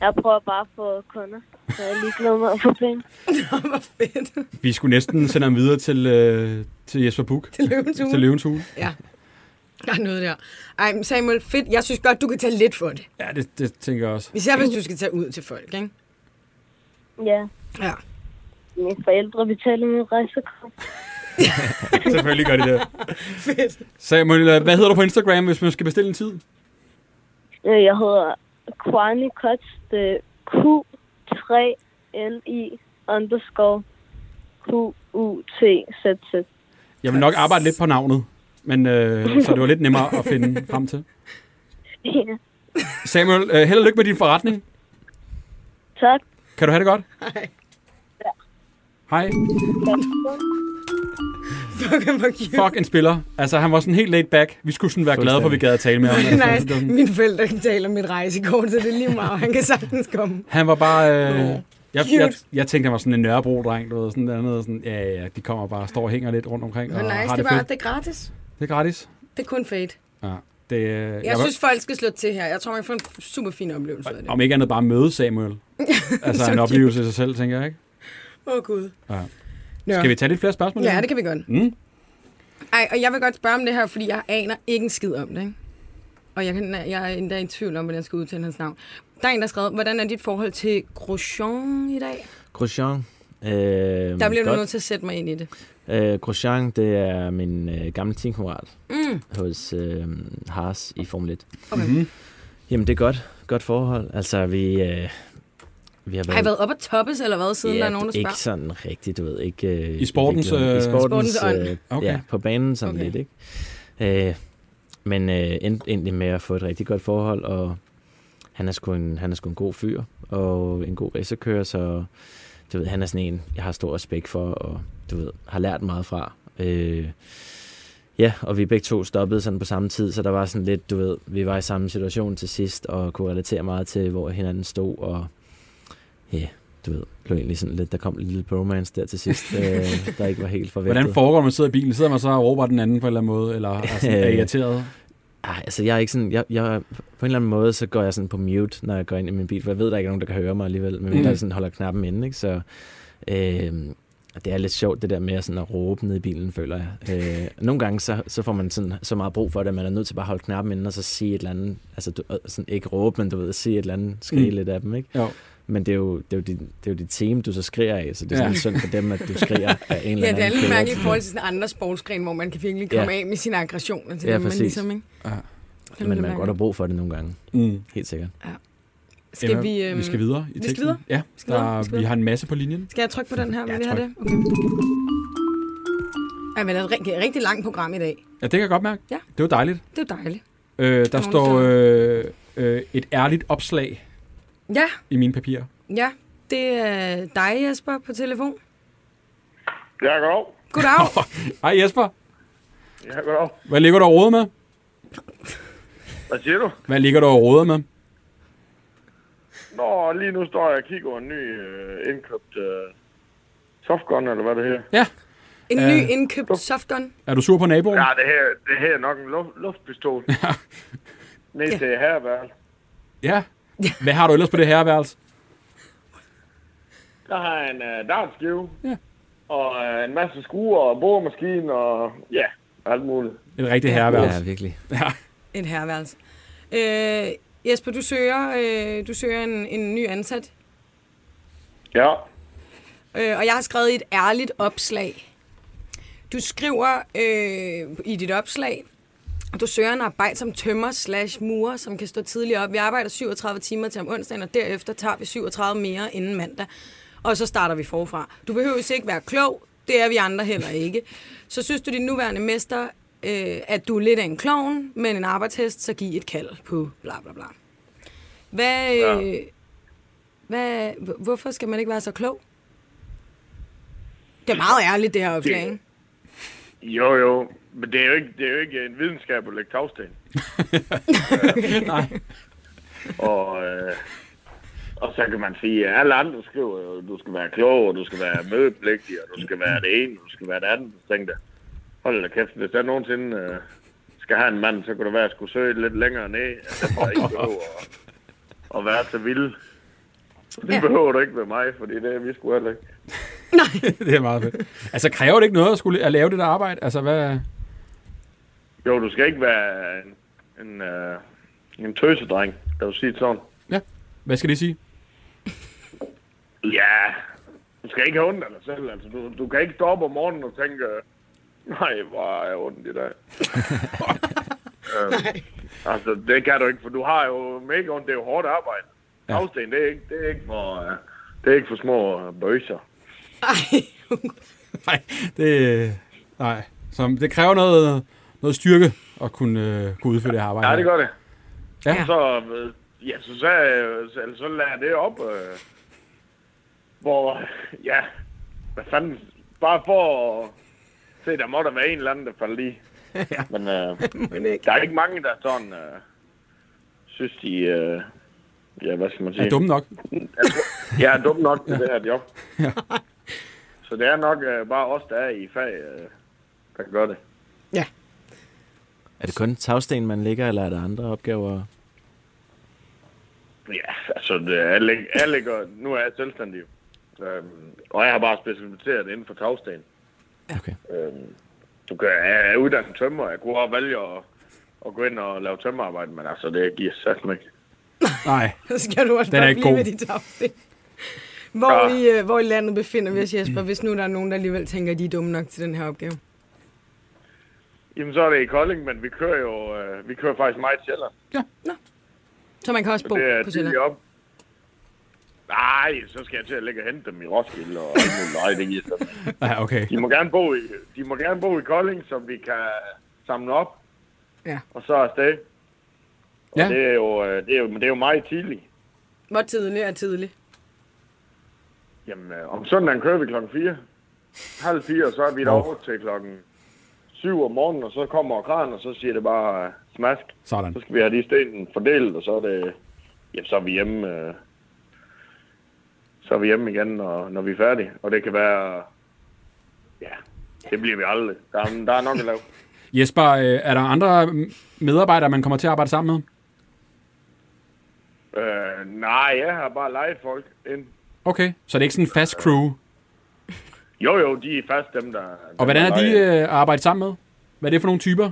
Speaker 6: Jeg prøver bare at få kunder, så jeg er ligeglad med at få
Speaker 3: (laughs)
Speaker 6: penge.
Speaker 3: Hvor fedt.
Speaker 4: Vi skulle næsten sende ham videre til, øh, til Jesper Buch.
Speaker 3: Til løvens hule.
Speaker 4: Til Løvens Hule.
Speaker 3: Ja. Der er noget der. Ej, men Samuel, fedt. Jeg synes godt, du kan tage lidt for det.
Speaker 4: Ja, det, det tænker jeg også.
Speaker 3: Især hvis du skal tage ud til folk, ikke?
Speaker 6: Ja,
Speaker 3: Ja.
Speaker 6: mine forældre betaler min rejsekort.
Speaker 4: Selvfølgelig gør det (laughs) det.
Speaker 3: Fedt.
Speaker 4: Samuel, øh, hvad hedder du på Instagram, hvis man skal bestille en tid?
Speaker 6: Øh, Jeg hedder Kwani Kots, det er Q3LI underscore Q-U-T-Z-Z.
Speaker 4: Jeg vil nok arbejde lidt på navnet, men øh, så det var lidt nemmere at finde frem til.
Speaker 6: Ja.
Speaker 4: Samuel, øh, held og lykke med din forretning.
Speaker 6: Tak.
Speaker 4: Kan du have det godt? Hej.
Speaker 3: Fuck, hvor cute.
Speaker 4: Fuck en spiller. Altså, han var sådan helt laid back. Vi skulle sådan være glade for, at vi gad at tale med ham.
Speaker 3: (laughs)
Speaker 4: (laughs) Altså, det var
Speaker 3: nice.
Speaker 4: sådan-
Speaker 3: Mine forældre kan tale om mit rejsekort, så det er lige meget. Han kan sagtens komme.
Speaker 4: Han var bare... Øh, jeg,
Speaker 3: Cute.
Speaker 4: jeg, jeg, tænkte, han var sådan en Nørrebro-dreng, du ved, sådan der noget, sådan, ja, ja, ja, de kommer bare og står og hænger lidt rundt omkring,
Speaker 3: Men
Speaker 4: og
Speaker 3: nice,
Speaker 4: har
Speaker 3: det
Speaker 4: det,
Speaker 3: er bare,
Speaker 4: fedt.
Speaker 3: det er gratis.
Speaker 4: Det er gratis.
Speaker 3: Det er kun fade.
Speaker 4: Ja, det, øh, jeg,
Speaker 3: Jeg
Speaker 4: var-
Speaker 3: synes, folk skal slå til her. Jeg tror, man får en super fin oplevelse af det. (laughs)
Speaker 4: Om ikke andet bare møde Samuel. Altså, en oplevelse i sig selv, tænker jeg, ikke?
Speaker 3: Åh, oh, Gud.
Speaker 4: Ja.
Speaker 3: Nå.
Speaker 4: Skal vi tage lidt flere spørgsmål?
Speaker 3: Ja, det kan vi godt.
Speaker 4: Mm.
Speaker 3: Ej, og jeg vil godt spørge om det her, fordi jeg aner ikke en skid om det, ikke? Og jeg, kan, jeg er endda i tvivl om, hvordan jeg skal udtale hans navn. Der er en, der har skrevet, hvordan er dit forhold til Grosjean i dag?
Speaker 2: Grosjean. Øh,
Speaker 3: Der bliver du nødt til at sætte mig ind i det.
Speaker 2: Øh, Grosjean, det er min øh, gamle teamkammerat
Speaker 3: Mm.
Speaker 2: hos øh, Haas i Formel 1.
Speaker 3: Okay.
Speaker 4: Mhm.
Speaker 2: Jamen, det er godt. Godt forhold. Altså, vi, øh, vi har været...
Speaker 3: Har I været op at toppes, eller hvad, siden ja, der er nogen, der
Speaker 2: ikke
Speaker 3: spørger?
Speaker 2: sådan rigtigt, du ved. Ikke, øh,
Speaker 4: I sportens,
Speaker 2: virkeligheden.
Speaker 4: øh,
Speaker 2: I sportens,
Speaker 3: Sportens ånd.
Speaker 2: øh,
Speaker 4: Okay.
Speaker 2: okay. ja, på banen sådan
Speaker 3: Okay.
Speaker 2: okay. lidt, ikke? Øh, men øh, endte egentlig med at få et rigtig godt forhold, og han er sgu en, han er sgu en god fyr, og en god racerkører, så du ved, han er sådan en, jeg har stor respekt for, og du ved, har lært meget fra. Øh, ja, og vi begge to stoppede sådan på samme tid, så der var sådan lidt, du ved, vi var i samme situation til sidst, og kunne relatere meget til, hvor hinanden stod, og ja, du ved, blev egentlig sådan lidt, der kom en lille bromance der til (laughs) sidst, øh, der ikke var helt forventet.
Speaker 4: Hvordan foregår det, når man sidder i bilen? Sidder man så og råber den anden på en eller anden måde,
Speaker 2: (laughs)
Speaker 4: eller (laughs) er, sådan, er
Speaker 2: Øh.
Speaker 4: irriteret?
Speaker 2: Ej, altså jeg er ikke sådan, jeg, jeg, på en eller anden måde, så går jeg sådan på mute, når jeg går ind i min bil, for jeg ved, der ikke er nogen, der kan høre mig alligevel, men
Speaker 4: Mm.
Speaker 2: mm. der sådan holder knappen inde, ikke? Så øh, det er lidt sjovt, det der med at, sådan at råbe ned i bilen, føler jeg. Øh, nogle gange, så, så får man sådan, så meget brug for det, at man er nødt til bare at holde knappen inde, og så sige et eller andet, altså du, øh, sådan, ikke råbe, men du ved, sige et eller andet, skrige
Speaker 4: Mm.
Speaker 2: mm. lidt af dem, ikke?
Speaker 4: Jo.
Speaker 2: Men det er jo, det er jo, dit, det er jo dit team, du så skriger af, så det er
Speaker 4: Ja.
Speaker 2: sådan ja. synd for dem, at du skriger
Speaker 3: (laughs)
Speaker 2: af en eller
Speaker 3: Ja,
Speaker 2: anden
Speaker 3: det er lidt
Speaker 2: kører.
Speaker 3: mærkeligt i forhold til sådan andre sportsgren, hvor man kan virkelig komme
Speaker 2: Ja.
Speaker 3: af med sine aggressioner til
Speaker 2: Ja,
Speaker 3: dem, man
Speaker 2: præcis.
Speaker 3: ligesom, ikke?
Speaker 4: Ja.
Speaker 3: Det er lidt
Speaker 2: Men man kan godt
Speaker 3: mærkeligt.
Speaker 2: have brug for det nogle gange,
Speaker 4: Mm.
Speaker 2: helt sikkert.
Speaker 3: Skal vi... Øhm,
Speaker 4: vi skal videre i
Speaker 3: vi skal
Speaker 4: teksten.
Speaker 3: videre?
Speaker 4: Ja,
Speaker 3: skal videre,
Speaker 4: der,
Speaker 3: vi skal
Speaker 4: vi
Speaker 3: videre.
Speaker 4: har en masse på
Speaker 3: (laughs)
Speaker 4: linjen.
Speaker 3: Skal jeg trykke på den her? Vil
Speaker 4: Ja,
Speaker 3: vi have
Speaker 4: tryk.
Speaker 3: det? Okay. Ej, men det er et rigtig, rigtig langt program i dag.
Speaker 4: Ja, det kan jeg godt mærke.
Speaker 3: Ja.
Speaker 4: Det var dejligt.
Speaker 3: Det er jo dejligt.
Speaker 4: Øh, der
Speaker 3: Dårligt
Speaker 4: står øh, øh, et ærligt opslag
Speaker 3: Ja,
Speaker 4: i mine papirer.
Speaker 3: ja. Det er dig, Jesper, på telefon.
Speaker 7: Ja, goddag.
Speaker 3: Goddag.
Speaker 4: (laughs) Hej Jesper,
Speaker 7: Ja, goddag.
Speaker 4: hvad ligger du og roder med?
Speaker 7: Hvad siger du?
Speaker 4: Hvad ligger du og roder med?
Speaker 7: Nå, lige nu står jeg og kigger over en ny øh, indkøbt øh, softgun, eller hvad det hedder.
Speaker 3: En ny
Speaker 4: Øh.
Speaker 3: indkøbt softgun.
Speaker 4: Er du sur på naboen?
Speaker 7: Ja, det her, det her er nok en luft, luftpistol. Ned
Speaker 3: Ja.
Speaker 7: til herværelse.
Speaker 4: ja. Hvad har du ellers på det her værelse?
Speaker 7: Der har jeg en øh, dartskive.
Speaker 4: Ja.
Speaker 7: Og øh, en masse skruer og boremaskine og ja, alt muligt.
Speaker 4: Et rigtigt herreværelse.
Speaker 2: Ja, virkelig.
Speaker 3: Et herreværelse. Øh, Jesper, du søger, øh, du søger en, en ny ansat.
Speaker 7: Ja.
Speaker 3: Øh, og jeg har skrevet et ærligt opslag. Du skriver øh, i dit opslag, at du søger en arbejde som tømmer slash murer, som kan stå tidligt op. Vi arbejder 37 timer til om onsdagen, og derefter tager vi 37 mere inden mandag. Og så starter vi forfra. Du behøver ikke være klog. Det er vi andre heller ikke. Så synes du, din nuværende mester, øh, at du er lidt af en klovn, men en arbejdshest, så giv et kald på bla bla bla. Hvad, øh, hvad, h- hvorfor skal man ikke være så klog? Det er meget ærligt, det her opslag, ikke?
Speaker 7: Jo, jo. Men det er jo ikke, det er jo ikke en videnskab at lægge tagsten.
Speaker 4: Nej.
Speaker 7: Og, øh, og så kan man sige, at alle andre skriver jo, du skal være klog, og du skal være mødepligtig, og du skal være det ene, og du skal være det andet. Så tænkte jeg, hold da kæft, hvis der nogensinde øh, skal have en mand, så kunne det være, at jeg skulle søge lidt længere ned. at Jeg ikke behøver at, at være så vild. Det
Speaker 3: Ja.
Speaker 7: behøver du ikke med mig, fordi det er vi sgu heller ikke.
Speaker 4: (laughs) det er meget fedt. Altså, kræver det ikke noget at, skulle, at lave det der arbejde? Altså, hvad...
Speaker 7: Jo, du skal ikke være en, en, øh, en tøsedreng, der vil sige det sådan.
Speaker 4: Hvad skal det sige?
Speaker 7: Ja, du skal ikke have ondt af dig selv. Altså, du, du kan ikke stå op om morgenen og tænke, nej, hvor er jeg ondt i dag. øhm, altså, det kan du ikke, for du har jo mega ondt. Det er jo hårdt arbejde.
Speaker 4: Ja.
Speaker 7: Ja. Afsten, det er ikke, det er ikke for... øh, det er ikke for små øh, bøjser.
Speaker 3: Ej,
Speaker 4: (laughs) Nej, det... Nej. Så det kræver noget, noget styrke at kunne, øh, kunne udføre det her arbejde.
Speaker 7: Ja, det gør det.
Speaker 4: Ja.
Speaker 7: Så, øh, ja, så, så, øh, så, eller så lader jeg det op, øh, hvor, ja, hvad fanden, bare for at se, der må der være en eller anden, der falder i. Ja. Men øh, der er ikke mange, der sådan, øh, synes de, øh, ja, hvad skal man sige?
Speaker 4: Er dumme nok?
Speaker 7: Jeg er dum nok til
Speaker 4: (laughs)
Speaker 7: det her job. Så det er nok øh, bare os, der er i fag, øh, der gør det.
Speaker 2: Er det kun tagsten, man ligger, eller er der andre opgaver?
Speaker 7: Ja, altså, det, alle, alle gør, nu er jeg selvstændig. jo. Øhm, og jeg har bare specialiseret inden for tagsten.
Speaker 2: Okay.
Speaker 7: Øhm, du kan, jeg er uddannet tømmer. Jeg kunne også vælge at, at gå ind og lave tømmerarbejde, men altså, det giver satme ikke.
Speaker 4: Nej,
Speaker 3: (laughs) Så skal du også
Speaker 4: Den er
Speaker 3: bare
Speaker 4: ikke
Speaker 3: blive
Speaker 4: god. Ah.
Speaker 3: ved dit afsnit. Hvor, i, øh, hvor i landet befinder vi os, Jesper, hvis nu der er nogen, der alligevel tænker, at de er dumme nok til den her opgave?
Speaker 7: Jamen, så er det i Kolding, men vi kører jo øh, vi kører faktisk meget til Sjælland.
Speaker 3: Så man kan også
Speaker 7: Så
Speaker 3: bo
Speaker 7: det er
Speaker 3: på Sjælland.
Speaker 7: tidligt op. Nej, så skal jeg til at ligge og hente dem i Roskilde og alt muligt. Nej, det giver sig.
Speaker 4: ja, okay.
Speaker 7: De må gerne bo i, de må gerne bo i Kolding, som vi kan samle op.
Speaker 3: Ja.
Speaker 7: Og så afsted. Og
Speaker 4: Ja.
Speaker 7: ja. det, er jo, øh, det, er jo, men det er jo meget tidligt.
Speaker 3: Hvor tidligt er tidligt?
Speaker 7: Jamen, øh, om søndagen kører vi klokken 4. Halv 4, og så er vi derovre til klokken 7 om morgenen, og så kommer kranen, og så siger det bare øh, smask.
Speaker 4: Sådan.
Speaker 7: Så skal vi have de sten fordelt, og så er det... Ja, så er vi hjemme... Øh, så er vi hjemme igen, når, når vi er færdige. Og det kan være... Ja, det bliver vi aldrig. Der er, der er nok at lave.
Speaker 4: Jesper, øh, er der andre medarbejdere, man kommer til at arbejde sammen med?
Speaker 7: Øh, nej, jeg har bare lejet folk ind.
Speaker 4: Okay, så det er ikke sådan en fast crew.
Speaker 7: Jo, jo, de er fast dem, der... dem,
Speaker 4: Og hvordan
Speaker 7: der
Speaker 4: er de
Speaker 7: lejer ind.
Speaker 4: øh, at arbejde sammen med? Hvad er det for nogle typer?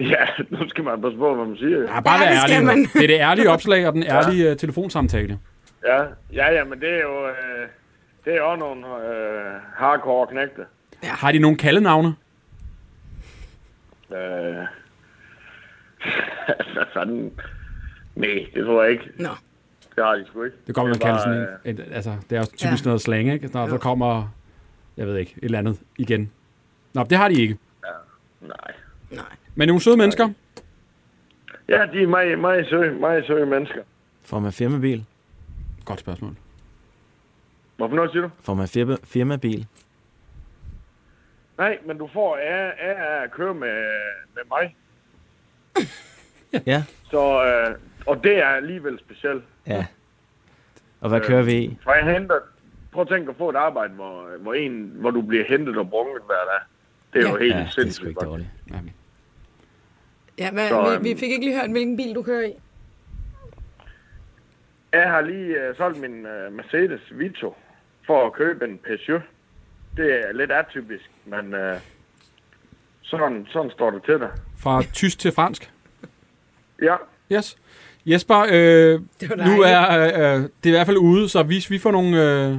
Speaker 7: Ja, (laughs) nu skal man passe på, hvad man siger.
Speaker 4: Ja, bare
Speaker 3: Ja,
Speaker 4: være
Speaker 3: det skal
Speaker 4: ærlig.
Speaker 3: man.
Speaker 4: nu. Det er det ærlige opslag
Speaker 7: (laughs)
Speaker 4: og den ærlige øh, telefonsamtale.
Speaker 7: Ja, ja, ja, men det er jo... Øh, det er jo også nogle øh, hardcore knægte.
Speaker 4: Har de nogle kaldenavne?
Speaker 7: Øh, (laughs) hvad fanden? Nej, det tror jeg ikke.
Speaker 3: Nå.
Speaker 7: Det har de sgu ikke.
Speaker 4: Det kommer man
Speaker 7: er bare,
Speaker 4: kalder sådan
Speaker 7: øh,
Speaker 4: en, et, altså, det er også typisk
Speaker 3: Ja.
Speaker 4: noget slang, ikke? Når der kommer, jeg ved ikke, et eller andet igen. Nå, det har de ikke.
Speaker 7: Nej.
Speaker 4: Men nogle søde mennesker.
Speaker 7: Ja, de er meget, meget søge, meget søge mennesker.
Speaker 2: Får man firmabil?
Speaker 4: Godt spørgsmål.
Speaker 7: Hvorfor noget siger du?
Speaker 2: Får man firma, firmabil?
Speaker 7: Nej, men du får af, af at køre med, med mig.
Speaker 2: Ja.
Speaker 7: Så, øh, og det er alligevel specielt.
Speaker 2: Ja. Og hvad kører vi i?
Speaker 7: For jeg henter... Prøv at tænke at få et arbejde, hvor, hvor, en, hvor du bliver hentet og brunket hver dag. Det er jo helt
Speaker 2: Ja, det er sgu
Speaker 7: sindssygt.
Speaker 2: ikke dårligt.
Speaker 4: Jamen,
Speaker 3: Ja, hvad,
Speaker 7: Så,
Speaker 3: vi,
Speaker 7: øhm,
Speaker 3: vi fik ikke lige hørt, hvilken bil du kører i.
Speaker 7: Jeg har lige øh, solgt min øh, Mercedes Vito for at købe en Peugeot. Det er lidt atypisk, men øh, sådan, sådan står det til dig.
Speaker 4: Fra tysk til fransk.
Speaker 7: Ja,
Speaker 4: Yes. Jesper, øh,
Speaker 3: Det var
Speaker 4: nu er øh, øh, det er i hvert fald ude, så hvis vi får nogle, øh,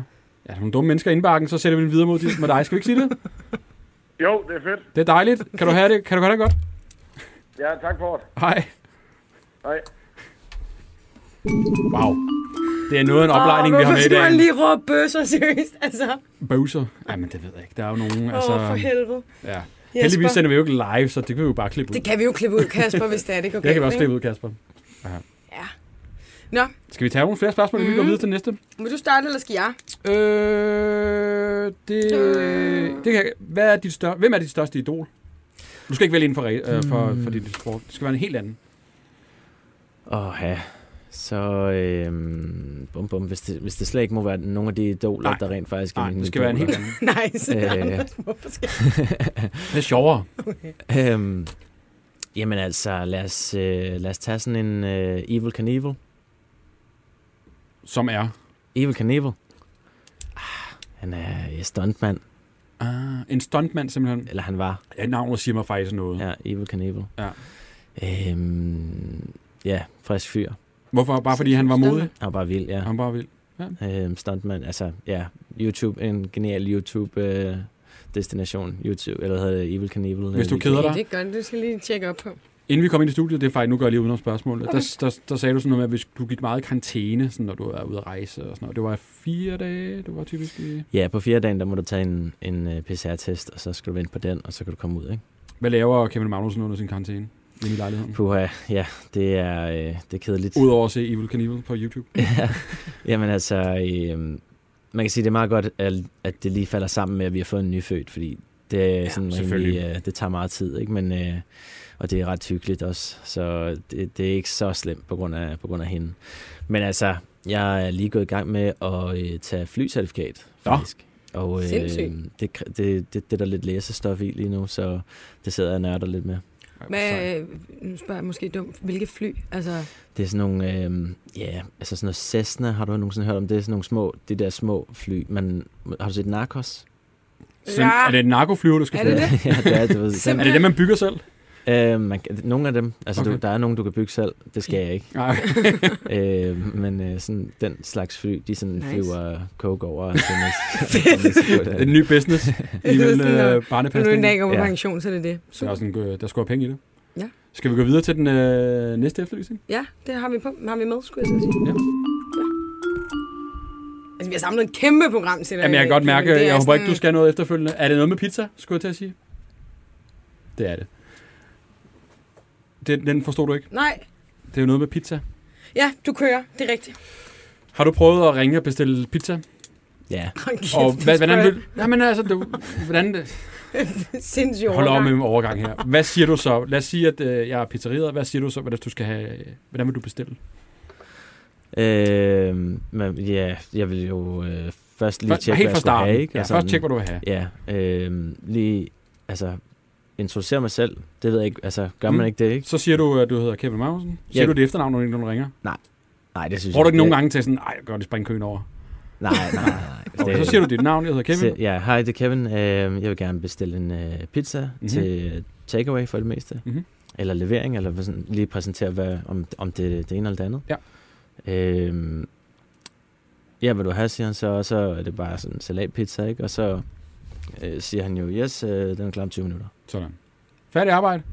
Speaker 4: ja, nogle dumme mennesker i indbakken, så sætter vi den videre mod, de- mod dig. Skal vi ikke sige det?
Speaker 7: jo, det er fedt.
Speaker 4: Det er dejligt. Kan du have det? Kan du have det godt?
Speaker 7: Ja, tak for det.
Speaker 4: Hej.
Speaker 7: Hej.
Speaker 4: Wow. Det er noget af en oplejning,
Speaker 3: Åh,
Speaker 4: vi
Speaker 3: hvorfor
Speaker 4: har med i
Speaker 3: skulle
Speaker 4: dag.
Speaker 3: man lige råbe bøsser, seriøst? Altså,
Speaker 4: Bowser. Ej, men det ved jeg ikke. Der er jo nogen,
Speaker 3: altså
Speaker 4: altså...
Speaker 3: åh, for helvede.
Speaker 4: ja. Heldigvis sender vi jo ikke live, så det kan vi jo bare klippe ud.
Speaker 3: Det kan vi jo klippe ud, Kasper, hvis det er det går
Speaker 4: Det kan vi
Speaker 3: galt,
Speaker 4: også
Speaker 3: ikke?
Speaker 4: klippe ud, Kasper.
Speaker 3: Nå, Mm.
Speaker 4: Skal vi tage nogle flere spørgsmål, inden vi går videre til næste?
Speaker 3: må du starte, eller skal jeg?
Speaker 4: Øh, det,
Speaker 3: Øh.
Speaker 4: det kan, hvad er dit større, hvem er dit største idol? Du skal ikke vælge inden for, re- øh,
Speaker 3: Hmm.
Speaker 4: for, for dit sport. Det skal være en helt anden.
Speaker 2: Åh ja, så øhm, bum, bum. Hvis, det, hvis det slet ikke må være nogle af de idoler,
Speaker 4: Nej.
Speaker 2: der rent faktisk er
Speaker 4: Nej,
Speaker 2: mine
Speaker 4: det skal være en helt
Speaker 2: idoler.
Speaker 4: anden.
Speaker 3: (laughs) Nej, så
Speaker 2: Øh.
Speaker 3: Anders, hvorfor skal
Speaker 4: (laughs) Det er sjovere.
Speaker 2: Øhm, jamen altså, lad os, øh, lad os tage sådan en øh, Evil Knievel.
Speaker 4: Som er
Speaker 2: Evil Knievel. Ah, han er øh, stuntmand,
Speaker 4: ah, en stuntmand simpelthen.
Speaker 2: eller han var.
Speaker 4: Ja, navnet siger mig faktisk noget. Ja.
Speaker 2: Ja, Evil Knievel.
Speaker 4: Ja.
Speaker 2: Øhm, ja, frisk fyr.
Speaker 4: Hvorfor? Bare fordi han var modig?
Speaker 2: Han var bare vild, ja.
Speaker 4: Han var vild.
Speaker 2: Øhm, stuntmand, altså ja, YouTube, en genial YouTube øh, destination, YouTube, eller hvad hedder det, Evil Knievel. øh,
Speaker 4: Hvis du
Speaker 2: video.
Speaker 4: keder
Speaker 3: Ja,
Speaker 4: dig.
Speaker 3: det er godt, det skal jeg lige tjekke op på.
Speaker 4: Inden vi kom ind i studiet, det er faktisk, nu går jeg lige udenom spørgsmålet, okay. der, der, der, sagde du sådan noget med, at hvis du gik meget i karantæne, sådan, når du var ude at rejse og sådan noget. Det var fire dage, du var typisk i...
Speaker 2: Ja, på fjerde dagen, der må du tage en, en øh, PCR-test, og så skal du vente på den, og så kan du komme ud, ikke?
Speaker 4: Hvad laver Kevin Magnussen under sin karantæne? Inde i lejligheden.
Speaker 2: Puha, ja, det er, øh, det er kedeligt.
Speaker 4: Mm. Udover at se Evil Knievel på YouTube.
Speaker 2: (laughs) Jamen altså, øh, man kan sige, det er meget godt, at, at det lige falder sammen med, at vi har fået en nyfødt, fordi det, er ja, sådan
Speaker 4: selvfølgelig.
Speaker 2: rimelig, øh, det tager meget tid, ikke? Men, øh, og det er ret hyggeligt også, så det, det er ikke så slemt på grund, af, på grund af hende. Men altså, jeg er lige gået i gang med at øh, tage flycertifikat,
Speaker 4: Nå.
Speaker 2: faktisk. Og øh,
Speaker 3: Sindssygt.
Speaker 2: det, det, det, det er der lidt læsestof i lige nu, så det sidder jeg og nørder lidt med.
Speaker 3: Hvad, øh, nu spørger jeg måske dumt, hvilke fly? Altså,
Speaker 2: Det er sådan nogle, øh, ja, altså sådan noget Cessna, har du nogensinde hørt om det? Sådan nogle små, de der små fly. Man, har du set Narcos?
Speaker 4: Så, er det en narkoflyver, du skal
Speaker 3: Er det
Speaker 4: flyve?
Speaker 2: (laughs) ja, det er, du ved. Den,
Speaker 4: Er det det, man bygger selv?
Speaker 2: øh, man, kan- nogle af dem, altså okay.
Speaker 4: Okay.
Speaker 2: du, der er nogle, du kan bygge selv. Det skal jeg ikke.
Speaker 4: Nej, okay.
Speaker 2: (laughs) Øh, men øh, sådan den slags fly, de sådan
Speaker 3: Nice.
Speaker 2: nice. flyver coke
Speaker 3: (laughs)
Speaker 2: over. Altså, Og sådan noget.
Speaker 4: det er en ny
Speaker 2: (laughs)
Speaker 4: business. I
Speaker 3: Det er sådan
Speaker 4: vil
Speaker 3: noget.
Speaker 4: øh,
Speaker 3: nu er
Speaker 4: barnepasning.
Speaker 3: det ikke om
Speaker 2: Ja.
Speaker 3: pension, så er det det.
Speaker 4: Så der er sådan, øh, der skulle penge i det.
Speaker 3: Ja.
Speaker 4: Skal vi gå videre til den øh, næste efterlysning?
Speaker 3: Ja, det har vi, på, har vi med, skulle jeg så sige.
Speaker 4: Ja.
Speaker 3: Altså, vi har samlet et kæmpe program til dig.
Speaker 4: Jamen, jeg kan godt mærke,
Speaker 3: men det er
Speaker 4: jeg håber ikke, du
Speaker 3: sådan-
Speaker 4: skal noget efterfølgende. Er det noget med pizza, skulle jeg til at sige? Det er det. Den, den forstod du ikke.
Speaker 3: Nej,
Speaker 4: Det er jo noget med pizza.
Speaker 3: ja, du kører, det er rigtigt. (laughs)
Speaker 4: Har du prøvet at ringe og bestille pizza?
Speaker 2: ja,
Speaker 3: Hold kæft,
Speaker 4: Og
Speaker 3: du
Speaker 4: hvad, hvordan
Speaker 3: spørger
Speaker 4: vil... Jamen altså, du, hvordan...
Speaker 3: (laughs) Sindssygt
Speaker 4: Hold op
Speaker 3: overgang.
Speaker 4: med min overgang her. Hvad siger du så? Lad os sige, at øh, jeg er pizzeriet. Hvad siger du så, hvordan du skal have... Hvordan vil du bestille?
Speaker 2: øh, men, ja, jeg vil jo øh, først lige
Speaker 4: Først-
Speaker 2: tjekke, hvad
Speaker 4: helt
Speaker 2: jeg skulle
Speaker 4: fra starten.
Speaker 2: have. Ikke?
Speaker 4: ja,
Speaker 2: Og
Speaker 4: først
Speaker 2: sådan-
Speaker 4: tjek, hvad du vil have.
Speaker 2: Ja, øh, lige, altså, introducere mig selv. Det ved jeg ikke, altså, gør man
Speaker 4: Mm.
Speaker 2: ikke det, ikke?
Speaker 4: Så siger du, at du hedder Kevin Magnussen. Siger
Speaker 2: Ja.
Speaker 4: du det efternavn, når du- når du ringer?
Speaker 2: Nej, det synes
Speaker 4: Prøver du
Speaker 2: jeg
Speaker 4: ikke nogen
Speaker 2: jeg-
Speaker 4: gange til sådan, nej, jeg gør det, springe køen over.
Speaker 2: Nej, nej, nej. nej.
Speaker 4: (laughs) Okay, så siger du dit navn, jeg hedder Kevin.
Speaker 2: Så- Øh, Ja, hej, det er Kevin. Øh, Jeg vil gerne bestille en øh, pizza
Speaker 4: Mhm.
Speaker 2: mm-hmm. til takeaway for det meste.
Speaker 4: Mhm.
Speaker 2: Mm-hmm. Eller levering, eller hvad sådan, lige præsentere, hvad, om, om det, det ene eller det andet.
Speaker 4: Ja.
Speaker 2: Øhm, ja, vil du have, siger han så, og så er det bare sådan en salatpizza, ikke? Og så øh, siger han jo, yes, øh, den er klar om 20 minutter.
Speaker 4: Sådan. Færdig arbejde.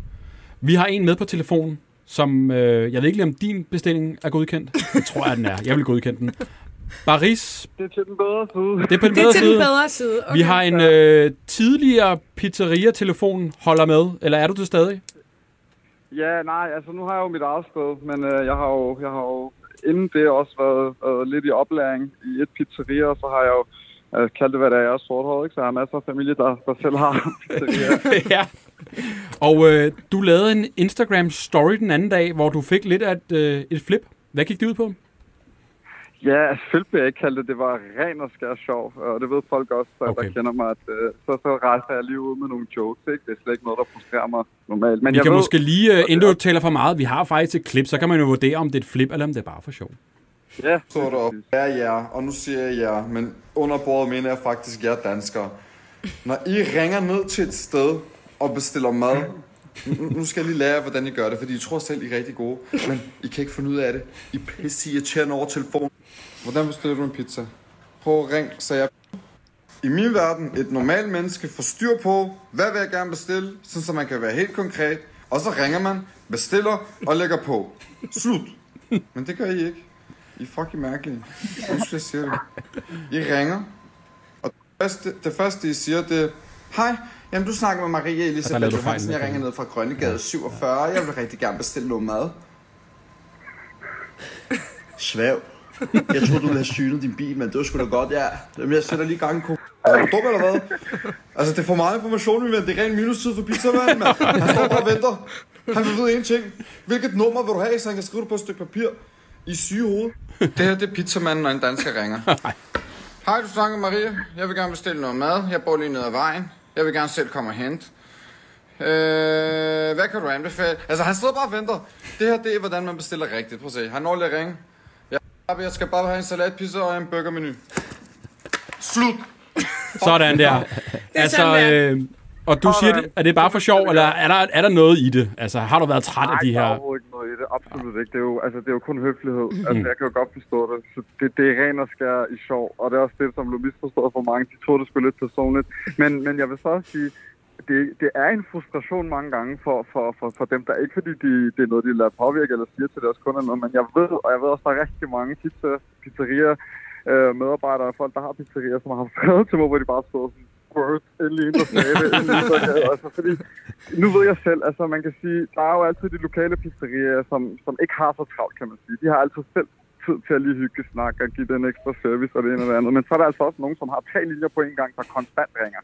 Speaker 4: Vi har en med på telefonen, som øh, jeg ved ikke lige, om din bestilling er godkendt. Jeg tror, at den er. Jeg vil godkende den. Baris,
Speaker 8: Det er til den bedre side.
Speaker 4: det er på
Speaker 3: Det
Speaker 4: den bedre
Speaker 3: er til
Speaker 4: side.
Speaker 3: den bedre side. Okay.
Speaker 4: Vi har en øh, tidligere pizzeria-telefon holder med, eller er du det stadig?
Speaker 8: Ja, nej, altså nu har jeg jo mit eget sted, men øh, jeg, har jo, jeg har jo inden det også været, været lidt i oplæring i et pizzeria, og så har jeg jo øh, kaldt det, hvad det er, jeg er sorthåret, ikke? Så jeg har masser af familie, der, der selv har (laughs)
Speaker 4: (laughs)
Speaker 8: pizzeria.
Speaker 4: ja. Og øh, du lavede en Instagram-story den anden dag, hvor du fik lidt af et, øh, et flip. Hvad gik det ud på?
Speaker 8: Ja, selvfølgelig vil jeg ikke kalde det. Det var ren og skær sjov, og det ved folk også, der, okay.
Speaker 4: Okay.
Speaker 8: der kender mig. At, øh, så, så rejser jeg lige ud med nogle jokes, ikke? Det er slet ikke noget, der frustrerer mig normalt. Men
Speaker 4: Vi
Speaker 8: jeg
Speaker 4: kan
Speaker 8: ved,
Speaker 4: måske lige, øh, inden du taler for meget, vi har faktisk et klip, så kan man jo vurdere, om det er et flip, eller om det er bare for sjov.
Speaker 8: Ja,
Speaker 9: sorter op er jer, og nu siger jeg jer, men under bordet mener jeg faktisk jer danskere. Når I ringer ned til et sted og bestiller mad, nu nu skal jeg lige lære jer, hvordan I gør det, fordi I tror selv, I er rigtig gode, men I kan ikke finde ud af det. I pisse irriterende over telefonen. Hvordan bestiller du en pizza? Prøv at ring, så jeg... I min verden, et normalt menneske får styr på, hvad vil jeg gerne bestille, sådan så man kan være helt konkret, og så ringer man, bestiller og lægger på. Slut. Men det gør I ikke. I er fucking mærkelige. Undskyld, jeg siger det. I ringer, og det første, det første I siger, det er, Hej, jamen du snakker med Maria
Speaker 4: der
Speaker 9: Elisabeth
Speaker 4: lavede du
Speaker 9: Johansen,
Speaker 4: fejl,
Speaker 9: jeg ringer ned fra Grønnegade 47, jeg vil rigtig gerne bestille noget mad.
Speaker 10: Svav. Jeg troede, du ville have synet din bil, men det var sgu da godt, ja. Jamen, jeg sætter lige gang i ko-
Speaker 9: Er du dum eller hvad? Altså, det er for meget information, min ven. Det er ren minustid for pizzamanden, mand. Han står bare og venter. Han vil vide én ting. Hvilket nummer vil du have, så han kan skrive det på et stykke papir? I syge hoved. Det her, det er pizzamanden, når en dansker ringer. Hej, du snakker med Maria. Jeg vil gerne bestille noget mad. Jeg bor lige nede ad vejen. Jeg vil gerne selv komme og hente. Øh, hvad kan du anbefale? Altså, han sidder bare og venter. Det her, det er, hvordan man bestiller rigtigt. Prøv at se. Han når lige at ringe. Jeg, jeg skal bare have en salatpizza og en burgermenu. Slut.
Speaker 4: (laughs) Sådan
Speaker 8: (laughs)
Speaker 4: der. altså,
Speaker 3: sådan
Speaker 4: øh, og du siger, det, er det bare for sjov, eller er der, er der noget i det? Altså, har du været træt af de
Speaker 8: der er
Speaker 4: her...
Speaker 8: overhovedet ikke noget i det. Absolut ikke. Det er jo, altså, det er jo kun høflighed.
Speaker 4: Mhm.
Speaker 8: Altså, jeg kan jo godt forstå det. Så det, det er ren og skær i sjov, og det er også det, som blev misforstået for mange. De troede, det skulle lidt personligt. Men, men jeg vil så også sige, det, det er en frustration mange gange for, for, for, for dem, der ikke fordi de, det er noget, de lader påvirke eller siger til deres kunder noget, men jeg ved, og jeg ved også, der er rigtig mange pizza, pizzerier, øh, medarbejdere og folk, der har pizzerier, som har skrevet til mig, hvor de bare stod sådan, Word, endelig en, der sagde det, endelig en, der sagde det. Altså, fordi nu ved jeg selv, altså man kan sige, der er jo altid de lokale pizzerier, som, som ikke har så travlt, kan man sige. De har altid selv tid til at lige hygge snakke og give den ekstra service og det ene og det andet. Men så er der altså også nogen, som har tre linjer på en gang, der konstant ringer.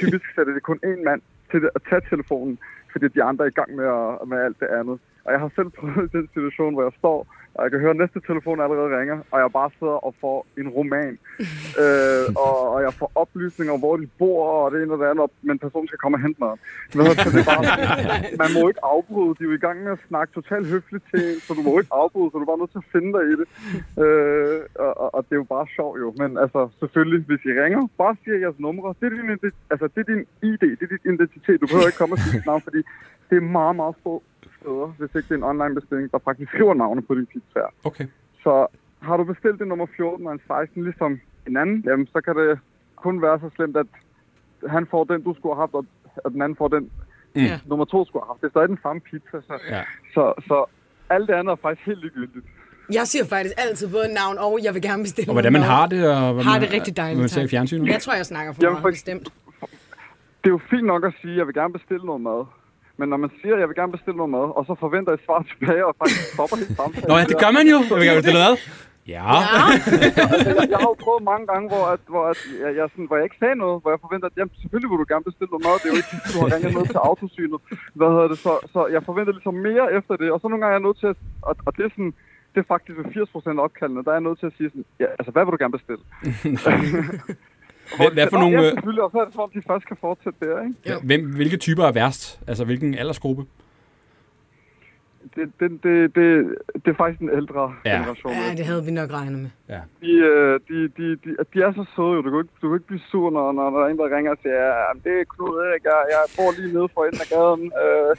Speaker 8: Typisk sætter det kun én mand til at tage telefonen, fordi de andre er i gang med, at, med alt det andet. Og jeg har selv prøvet den situation, hvor jeg står Og jeg kan høre, at næste telefon allerede ringer, og jeg bare sidder og får en roman. øh, og, og, jeg får oplysninger om, hvor de bor, og det ene og det andet, og- men personen skal komme og hente mig. Hvad hedder det, så det er bare, man må ikke afbryde. De er jo i gang med at snakke totalt høfligt til en, så du må jo ikke afbryde, så du er bare nødt til at finde dig i det. Øh, og, og, og, det er jo bare sjovt jo. Men altså, selvfølgelig, hvis I ringer, bare siger jeres numre. Det er din, ident- altså, det er din ID, det er din identitet. Du behøver ikke komme og sige dit navn, fordi det er meget, meget få steder, hvis ikke det er en online bestilling, der faktisk skriver navne på din pizzaer.
Speaker 4: Okay.
Speaker 8: Så har du bestilt det nummer 14 og en 16, ligesom en anden, jamen så kan det kun være så slemt, at han får den, du skulle have haft, og og den anden får den,
Speaker 4: Ja.
Speaker 8: nummer to skulle have haft. Det er stadig den samme pizza, så,
Speaker 4: Mm. Ja.
Speaker 8: så, så alt det andet er faktisk helt ligegyldigt.
Speaker 3: Jeg siger faktisk altid både navn og, jeg vil gerne bestille
Speaker 4: Og hvordan man
Speaker 3: noget.
Speaker 4: har det, og hvad
Speaker 3: Har
Speaker 4: man,
Speaker 3: det rigtig dejligt,
Speaker 4: hvad man ser i
Speaker 3: tak.
Speaker 4: fjernsynet.
Speaker 3: Jeg tror, jeg snakker for
Speaker 8: Jamen,
Speaker 3: meget
Speaker 8: for-
Speaker 3: bestemt.
Speaker 8: Det er jo fint nok at sige, at jeg vil gerne bestille noget mad. Men når man siger, at jeg vil gerne bestille noget mad, og så forventer et svar (laughs) tilbage, og faktisk stopper helt samtalen.
Speaker 4: Nå ja, det gør man jo. Jeg vil gerne bestille noget. Ja. ja.
Speaker 8: jeg, jeg har jo prøvet mange gange, hvor, at, hvor, at, jeg, jeg, sådan, hvor jeg ikke sagde noget, hvor jeg forventer, at jamen, selvfølgelig vil du gerne bestille noget mad, det er jo ikke, du har ringet noget til autosynet. Hvad hedder det? Så, så jeg forventer ligesom mere efter det, og så nogle gange er jeg nødt til at, og, og det er sådan, det er faktisk ved 80% af opkaldene, der er jeg nødt til at sige sådan, ja, altså hvad vil du gerne
Speaker 4: (laughs)
Speaker 8: bestille?
Speaker 4: Hvad, hvad for
Speaker 8: Nå,
Speaker 4: nogle,
Speaker 8: Ja,
Speaker 4: øh,
Speaker 8: selvfølgelig, og så er det som om, de først kan fortsætte der, ikke?
Speaker 4: hvem, hvilke typer er værst? Altså, hvilken aldersgruppe?
Speaker 8: Det, det, det, det, det er faktisk en ældre
Speaker 4: Ja.
Speaker 8: generation.
Speaker 3: Ja, det havde vi nok regnet med.
Speaker 8: de, øh, de, de, de, de er så søde, jo. Du kan jo ikke, du kan ikke blive sur, når, når der er en, der ringer og siger, ja, jamen, det er Knud Erik, jeg, jeg bor lige nede for enden af gaden. Øh,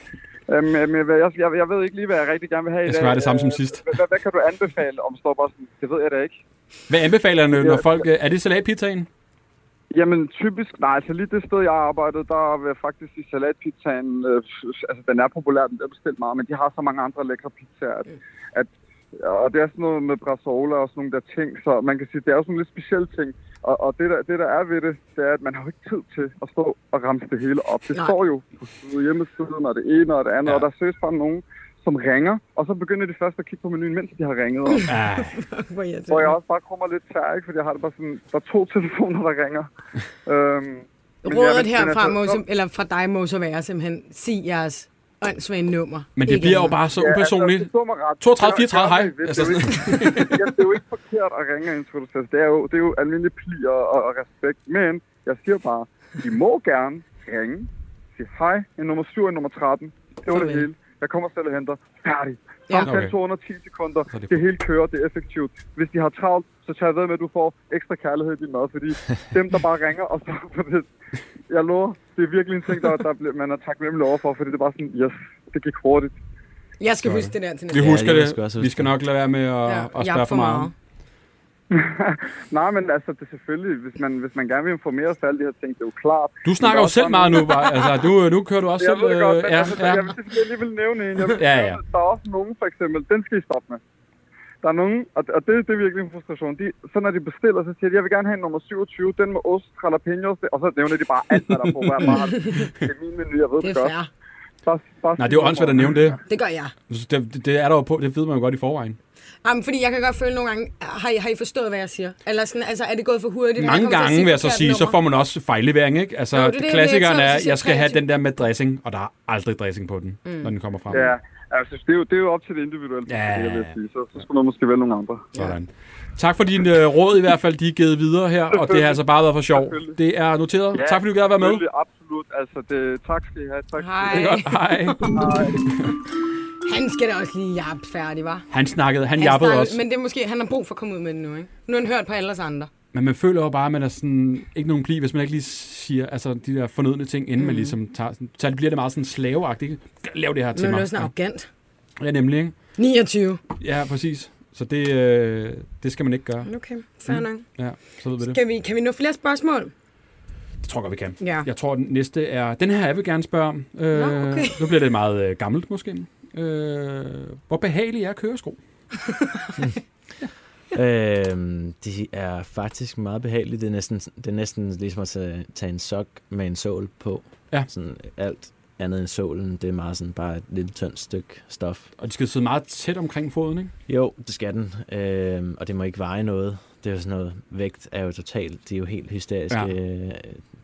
Speaker 8: øh, men, men hvad jeg, jeg, jeg ved ikke lige, hvad jeg rigtig gerne vil have i
Speaker 4: Jeg
Speaker 8: dag.
Speaker 4: skal være det samme som
Speaker 8: Øh,
Speaker 4: sidst.
Speaker 8: Hvad, hvad, hvad kan du anbefale om står bare sådan, det ved jeg da ikke.
Speaker 4: Hvad anbefaler du, når folk... øh, Er det salatpizzaen?
Speaker 8: Jamen typisk, nej, altså lige det sted, jeg arbejdede, der var faktisk i salatpizzaen, øh, altså den er populær, den er bestilt meget, men de har så mange andre lækre pizzaer, at, at og det er sådan noget med brasola og sådan nogle der ting, så man kan sige, det er jo sådan lidt specielle ting. Og, og det, der, det, der er ved det, det er, at man har jo ikke tid til at stå og ramse det hele op. Det
Speaker 3: Nej.
Speaker 8: nej. står jo på side- hjemmesiden, og det ene og det andet, ja.
Speaker 4: Ja.
Speaker 8: og der er søs bare nogen, som ringer, og så begynder de først at kigge på menuen, mens de har ringet. Og,
Speaker 4: Ah,
Speaker 3: (laughs) Hvor irriterende.
Speaker 8: hvor jeg også bare kommer lidt tær, ikke? Fordi jeg har det bare sådan, der er to (laughs) telefoner, der ringer. øhm, men ja,
Speaker 3: Rådet
Speaker 8: men- men
Speaker 3: herfra,
Speaker 8: altså,
Speaker 3: må,
Speaker 8: så-
Speaker 3: sim- eller fra dig må så være simpelthen, sig jeres åndssvage nummer.
Speaker 4: men det
Speaker 3: Ikke
Speaker 4: bliver jo
Speaker 3: andet.
Speaker 4: bare så
Speaker 8: Ja,
Speaker 4: upersonligt.
Speaker 8: Altså, det stod mig ret.
Speaker 4: 32,
Speaker 8: Det er-
Speaker 4: 34, hej.
Speaker 8: det er jo
Speaker 4: Altså
Speaker 8: ikke- (laughs) Jamen, det er jo ikke forkert at ringe og introducere sig. Det er jo, det er jo almindelig pli og, og, og respekt. Men jeg siger bare, I må gerne ringe, sige hej, en nummer 7 og en nummer 13. Det var det
Speaker 3: Farvel.
Speaker 8: hele. Jeg kommer selv og henter. Færdig.
Speaker 3: Ja.
Speaker 8: Samtale
Speaker 4: Okay.
Speaker 8: ja. 210 sekunder.
Speaker 4: er det-
Speaker 8: Det hele kører, det er effektivt. Hvis de har travlt, så tager jeg ved med, at du får ekstra kærlighed i din mad,
Speaker 4: (laughs)
Speaker 8: fordi dem, der bare ringer og så på det, jeg lover, det er virkelig en ting, der, der bliver, man er taknemmelig overfor, fordi det er bare sådan, yes, det gik hurtigt.
Speaker 3: Jeg skal huske det der til næste
Speaker 4: Vi
Speaker 2: Ja,
Speaker 4: husker
Speaker 2: jeg skal også
Speaker 4: det.
Speaker 2: huske
Speaker 4: Vi skal nok lade være med at, at
Speaker 3: jeg er
Speaker 4: spørge for meget.
Speaker 8: Nej, men altså, det er selvfølgelig, hvis man, hvis man gerne vil informere os for alle de her ting, det er jo klart.
Speaker 4: Du snakker
Speaker 8: Men
Speaker 4: jo
Speaker 8: også
Speaker 4: selv
Speaker 8: sådan-
Speaker 4: meget nu, bare. Altså, du, nu kører du også
Speaker 8: Jeg
Speaker 4: selv...
Speaker 8: ved
Speaker 4: øh,
Speaker 8: det godt, men
Speaker 4: ja,
Speaker 8: altså,
Speaker 4: ja.
Speaker 8: jeg vil selvfølgelig alligevel nævne en. Jeg vil,
Speaker 4: Ja,
Speaker 8: ja,
Speaker 4: ja.
Speaker 8: ja. Der er også nogen, for eksempel, den skal I stoppe med. Der er nogen, og, og det, det er virkelig en frustration. De, så når de bestiller, så siger de, jeg vil gerne have en nummer 27, den med ost, jalapenos, det- og så nævner de bare alt, hvad der er på hver bar. Det er min menu, jeg ved
Speaker 3: Det
Speaker 8: det,
Speaker 3: er
Speaker 8: godt.
Speaker 3: fair.
Speaker 8: Bare, bare
Speaker 4: Nej, det er jo åndssvagt at nævne det.
Speaker 3: Det gør jeg.
Speaker 4: det. Det er der jo på. Det ved man jo godt i forvejen.
Speaker 3: Jamen, fordi jeg kan godt føle nogle gange, har I, har I forstået, hvad jeg siger? Eller sådan, altså, er det gået for hurtigt? når jeg
Speaker 4: Mange
Speaker 3: kommer til at
Speaker 4: gange
Speaker 3: sige
Speaker 4: vil jeg så
Speaker 3: forkert
Speaker 4: sige, så
Speaker 3: nummer?
Speaker 4: får man også fejllevering, ikke? Altså,
Speaker 3: Jo, det er
Speaker 4: jo,
Speaker 3: det, jeg
Speaker 4: klassikeren
Speaker 3: irriterer mig,
Speaker 4: er,
Speaker 3: hvis jeg
Speaker 4: jeg skal have
Speaker 3: kreativ.
Speaker 4: den der med dressing, og der er aldrig dressing på den, mm. når den kommer frem.
Speaker 8: Ja, altså, det er, jo, det er jo op til det individuelle,
Speaker 4: Ja,
Speaker 8: ja, det, jeg vil
Speaker 4: ja, ja.
Speaker 8: sige. Så, så skulle man måske vælge nogle andre.
Speaker 4: Sådan. Tak for din øh, råd i hvert fald, de er givet videre her, og det har altså bare været for sjov.
Speaker 8: Selvfølgelig.
Speaker 4: Det er noteret. tak fordi du gad at være med.
Speaker 8: Selvfølgelig, Absolut, altså, det, tak skal I have. Tak skal I have.
Speaker 4: Det er
Speaker 3: Hej.
Speaker 4: godt. Hej.
Speaker 3: Han skal da også lige jappe færdig, var.
Speaker 4: Han snakkede, han, han jappede også. Men...
Speaker 3: Men det er måske, han har brug for at komme ud med det nu, ikke? Nu har han hørt på alle os andre.
Speaker 4: men man føler jo bare, at man er sådan, ikke nogen pli, hvis man ikke lige siger altså, de der fornødne ting, inden mm. man ligesom tager... Sådan, så bliver det meget sådan slaveagtigt. ikke? Lav det her
Speaker 3: Nu
Speaker 4: til
Speaker 3: er
Speaker 4: mig.
Speaker 3: det sådan arrogant.
Speaker 4: Ja. ja, nemlig. Ikke?
Speaker 3: 29.
Speaker 4: Ja, præcis. Så det, øh, det skal man ikke gøre. Mm.
Speaker 3: Okay, fair nok.
Speaker 4: Ja, så ved vi det.
Speaker 3: Kan vi, kan vi nå flere spørgsmål?
Speaker 4: Det tror jeg godt, vi kan.
Speaker 3: Ja.
Speaker 4: Jeg tror, den næste er... Den her, jeg vil gerne spørge om. Øh,
Speaker 3: okay.
Speaker 4: Nu bliver det meget øh, gammelt, måske. Øh, hvor behagelig er (laughs) køresko?
Speaker 2: Øhm, de er faktisk meget behagelige. Det er næsten, det er næsten ligesom at tage tage en sok med en sål på.
Speaker 4: Ja.
Speaker 2: Sådan alt andet end sålen, det er meget sådan bare et lille tyndt stykke stof.
Speaker 4: Og de skal sidde meget tæt omkring foden, ikke?
Speaker 2: Jo, det skal den, øhm, og det må ikke veje noget. det er jo sådan noget, vægt er jo totalt, de er jo helt hysteriske,
Speaker 4: Ja.
Speaker 2: ja. øh,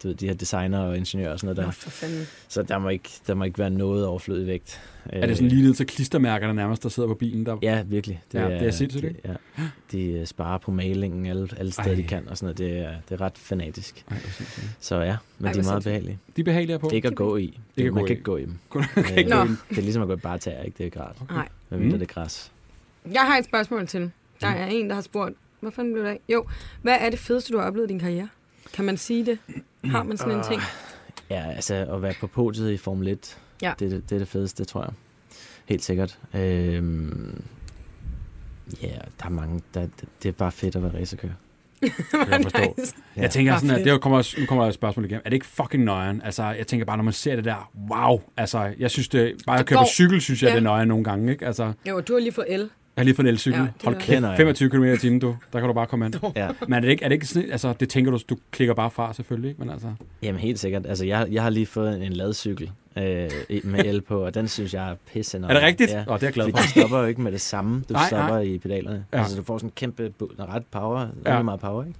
Speaker 2: du ved, de her designer og ingeniører og sådan noget
Speaker 3: Nå,
Speaker 2: der.
Speaker 3: for fanden.
Speaker 2: Så der må ikke, der må ikke være noget overflødig vægt. Øh,
Speaker 4: Er det sådan lige ned til klistermærkerne nærmest, der sidder på bilen? Der...
Speaker 2: Ja, virkelig.
Speaker 4: Ja, det er sindssygt,
Speaker 2: det, ja. De øh, sparer på malingen alle, alle steder,
Speaker 4: Ej.
Speaker 2: Ej. de kan og sådan noget. Det er, det er ret fanatisk.
Speaker 4: Ej, hvor sindssygt.
Speaker 2: Så ja, men
Speaker 3: Ej,
Speaker 2: Ej, de er
Speaker 3: hvor
Speaker 2: meget
Speaker 3: sindssygt.
Speaker 2: behagelige.
Speaker 4: De er behagelige på.
Speaker 2: Ikke at gå i.
Speaker 4: Ikke
Speaker 2: Ikke
Speaker 4: at
Speaker 2: man
Speaker 4: gå
Speaker 2: kan
Speaker 4: i.
Speaker 2: ikke gå i dem.
Speaker 4: Kun,
Speaker 2: Øh,
Speaker 4: kan ikke
Speaker 3: Nå.
Speaker 4: gå ind.
Speaker 2: Det er ligesom at gå i bare tæer, ikke? Det er klart.
Speaker 3: Nej.
Speaker 2: Hvad mindre
Speaker 4: Mm.
Speaker 2: mm. det er græs.
Speaker 3: Jeg har et spørgsmål til. Der er en, der har spurgt, hvad fanden blev det af? Jo, hvad er det fedeste, du har oplevet i din karriere? Kan man sige det? Har man
Speaker 4: Ah.
Speaker 3: sådan en ting?
Speaker 2: Ja, altså at være på podiet i Formel 1,
Speaker 3: Ja.
Speaker 2: det, er det, det er det fedeste, tror jeg. Helt sikkert. Øhm, ja, der er mange. Der, det, det er bare fedt at være
Speaker 3: (laughs)
Speaker 2: racerkører.
Speaker 4: Jeg forstår.
Speaker 2: Ja.
Speaker 4: Jeg tænker
Speaker 3: Bare
Speaker 4: sådan, at
Speaker 3: Ah, fedt.
Speaker 4: det kommer, også- nu kommer spørgsmålet igen. Er det ikke fucking nøjeren? Altså, jeg tænker bare, når man ser det der, wow. Altså, jeg synes det, bare
Speaker 3: Det
Speaker 4: at køre på
Speaker 3: går.
Speaker 4: cykel, synes jeg,
Speaker 3: Ja.
Speaker 4: det er nøjeren nogle gange, ikke? Altså, jeg
Speaker 3: Jo, du har lige fået L.
Speaker 4: har lige fået en elcykel.
Speaker 3: Ja,
Speaker 4: Ja,
Speaker 3: det er
Speaker 4: Hold
Speaker 3: det.
Speaker 2: Kender
Speaker 4: kæft,
Speaker 2: jeg.
Speaker 4: 25 km i timen, du. Der kan du bare komme ind.
Speaker 2: Ja.
Speaker 4: Men er det ikke, er det ikke sådan, altså, det tænker du, du klikker bare fra, selvfølgelig, ikke? Men altså,
Speaker 2: Jamen helt sikkert. Altså, jeg, jeg har lige fået en ladcykel øh, med el på, og den synes jeg er pisse
Speaker 4: er det rigtigt? Åh,
Speaker 2: Ja.
Speaker 4: ja. oh, det er jeg glad
Speaker 2: Fordi
Speaker 4: for.
Speaker 2: du stopper jo ikke med det samme. Du
Speaker 4: Nej,
Speaker 2: nej, stopper nej. i pedalerne.
Speaker 4: Ja.
Speaker 2: Ja. Altså, du får sådan en kæmpe bu- og ret power.
Speaker 4: Ja.
Speaker 2: Ja. meget power, ikke?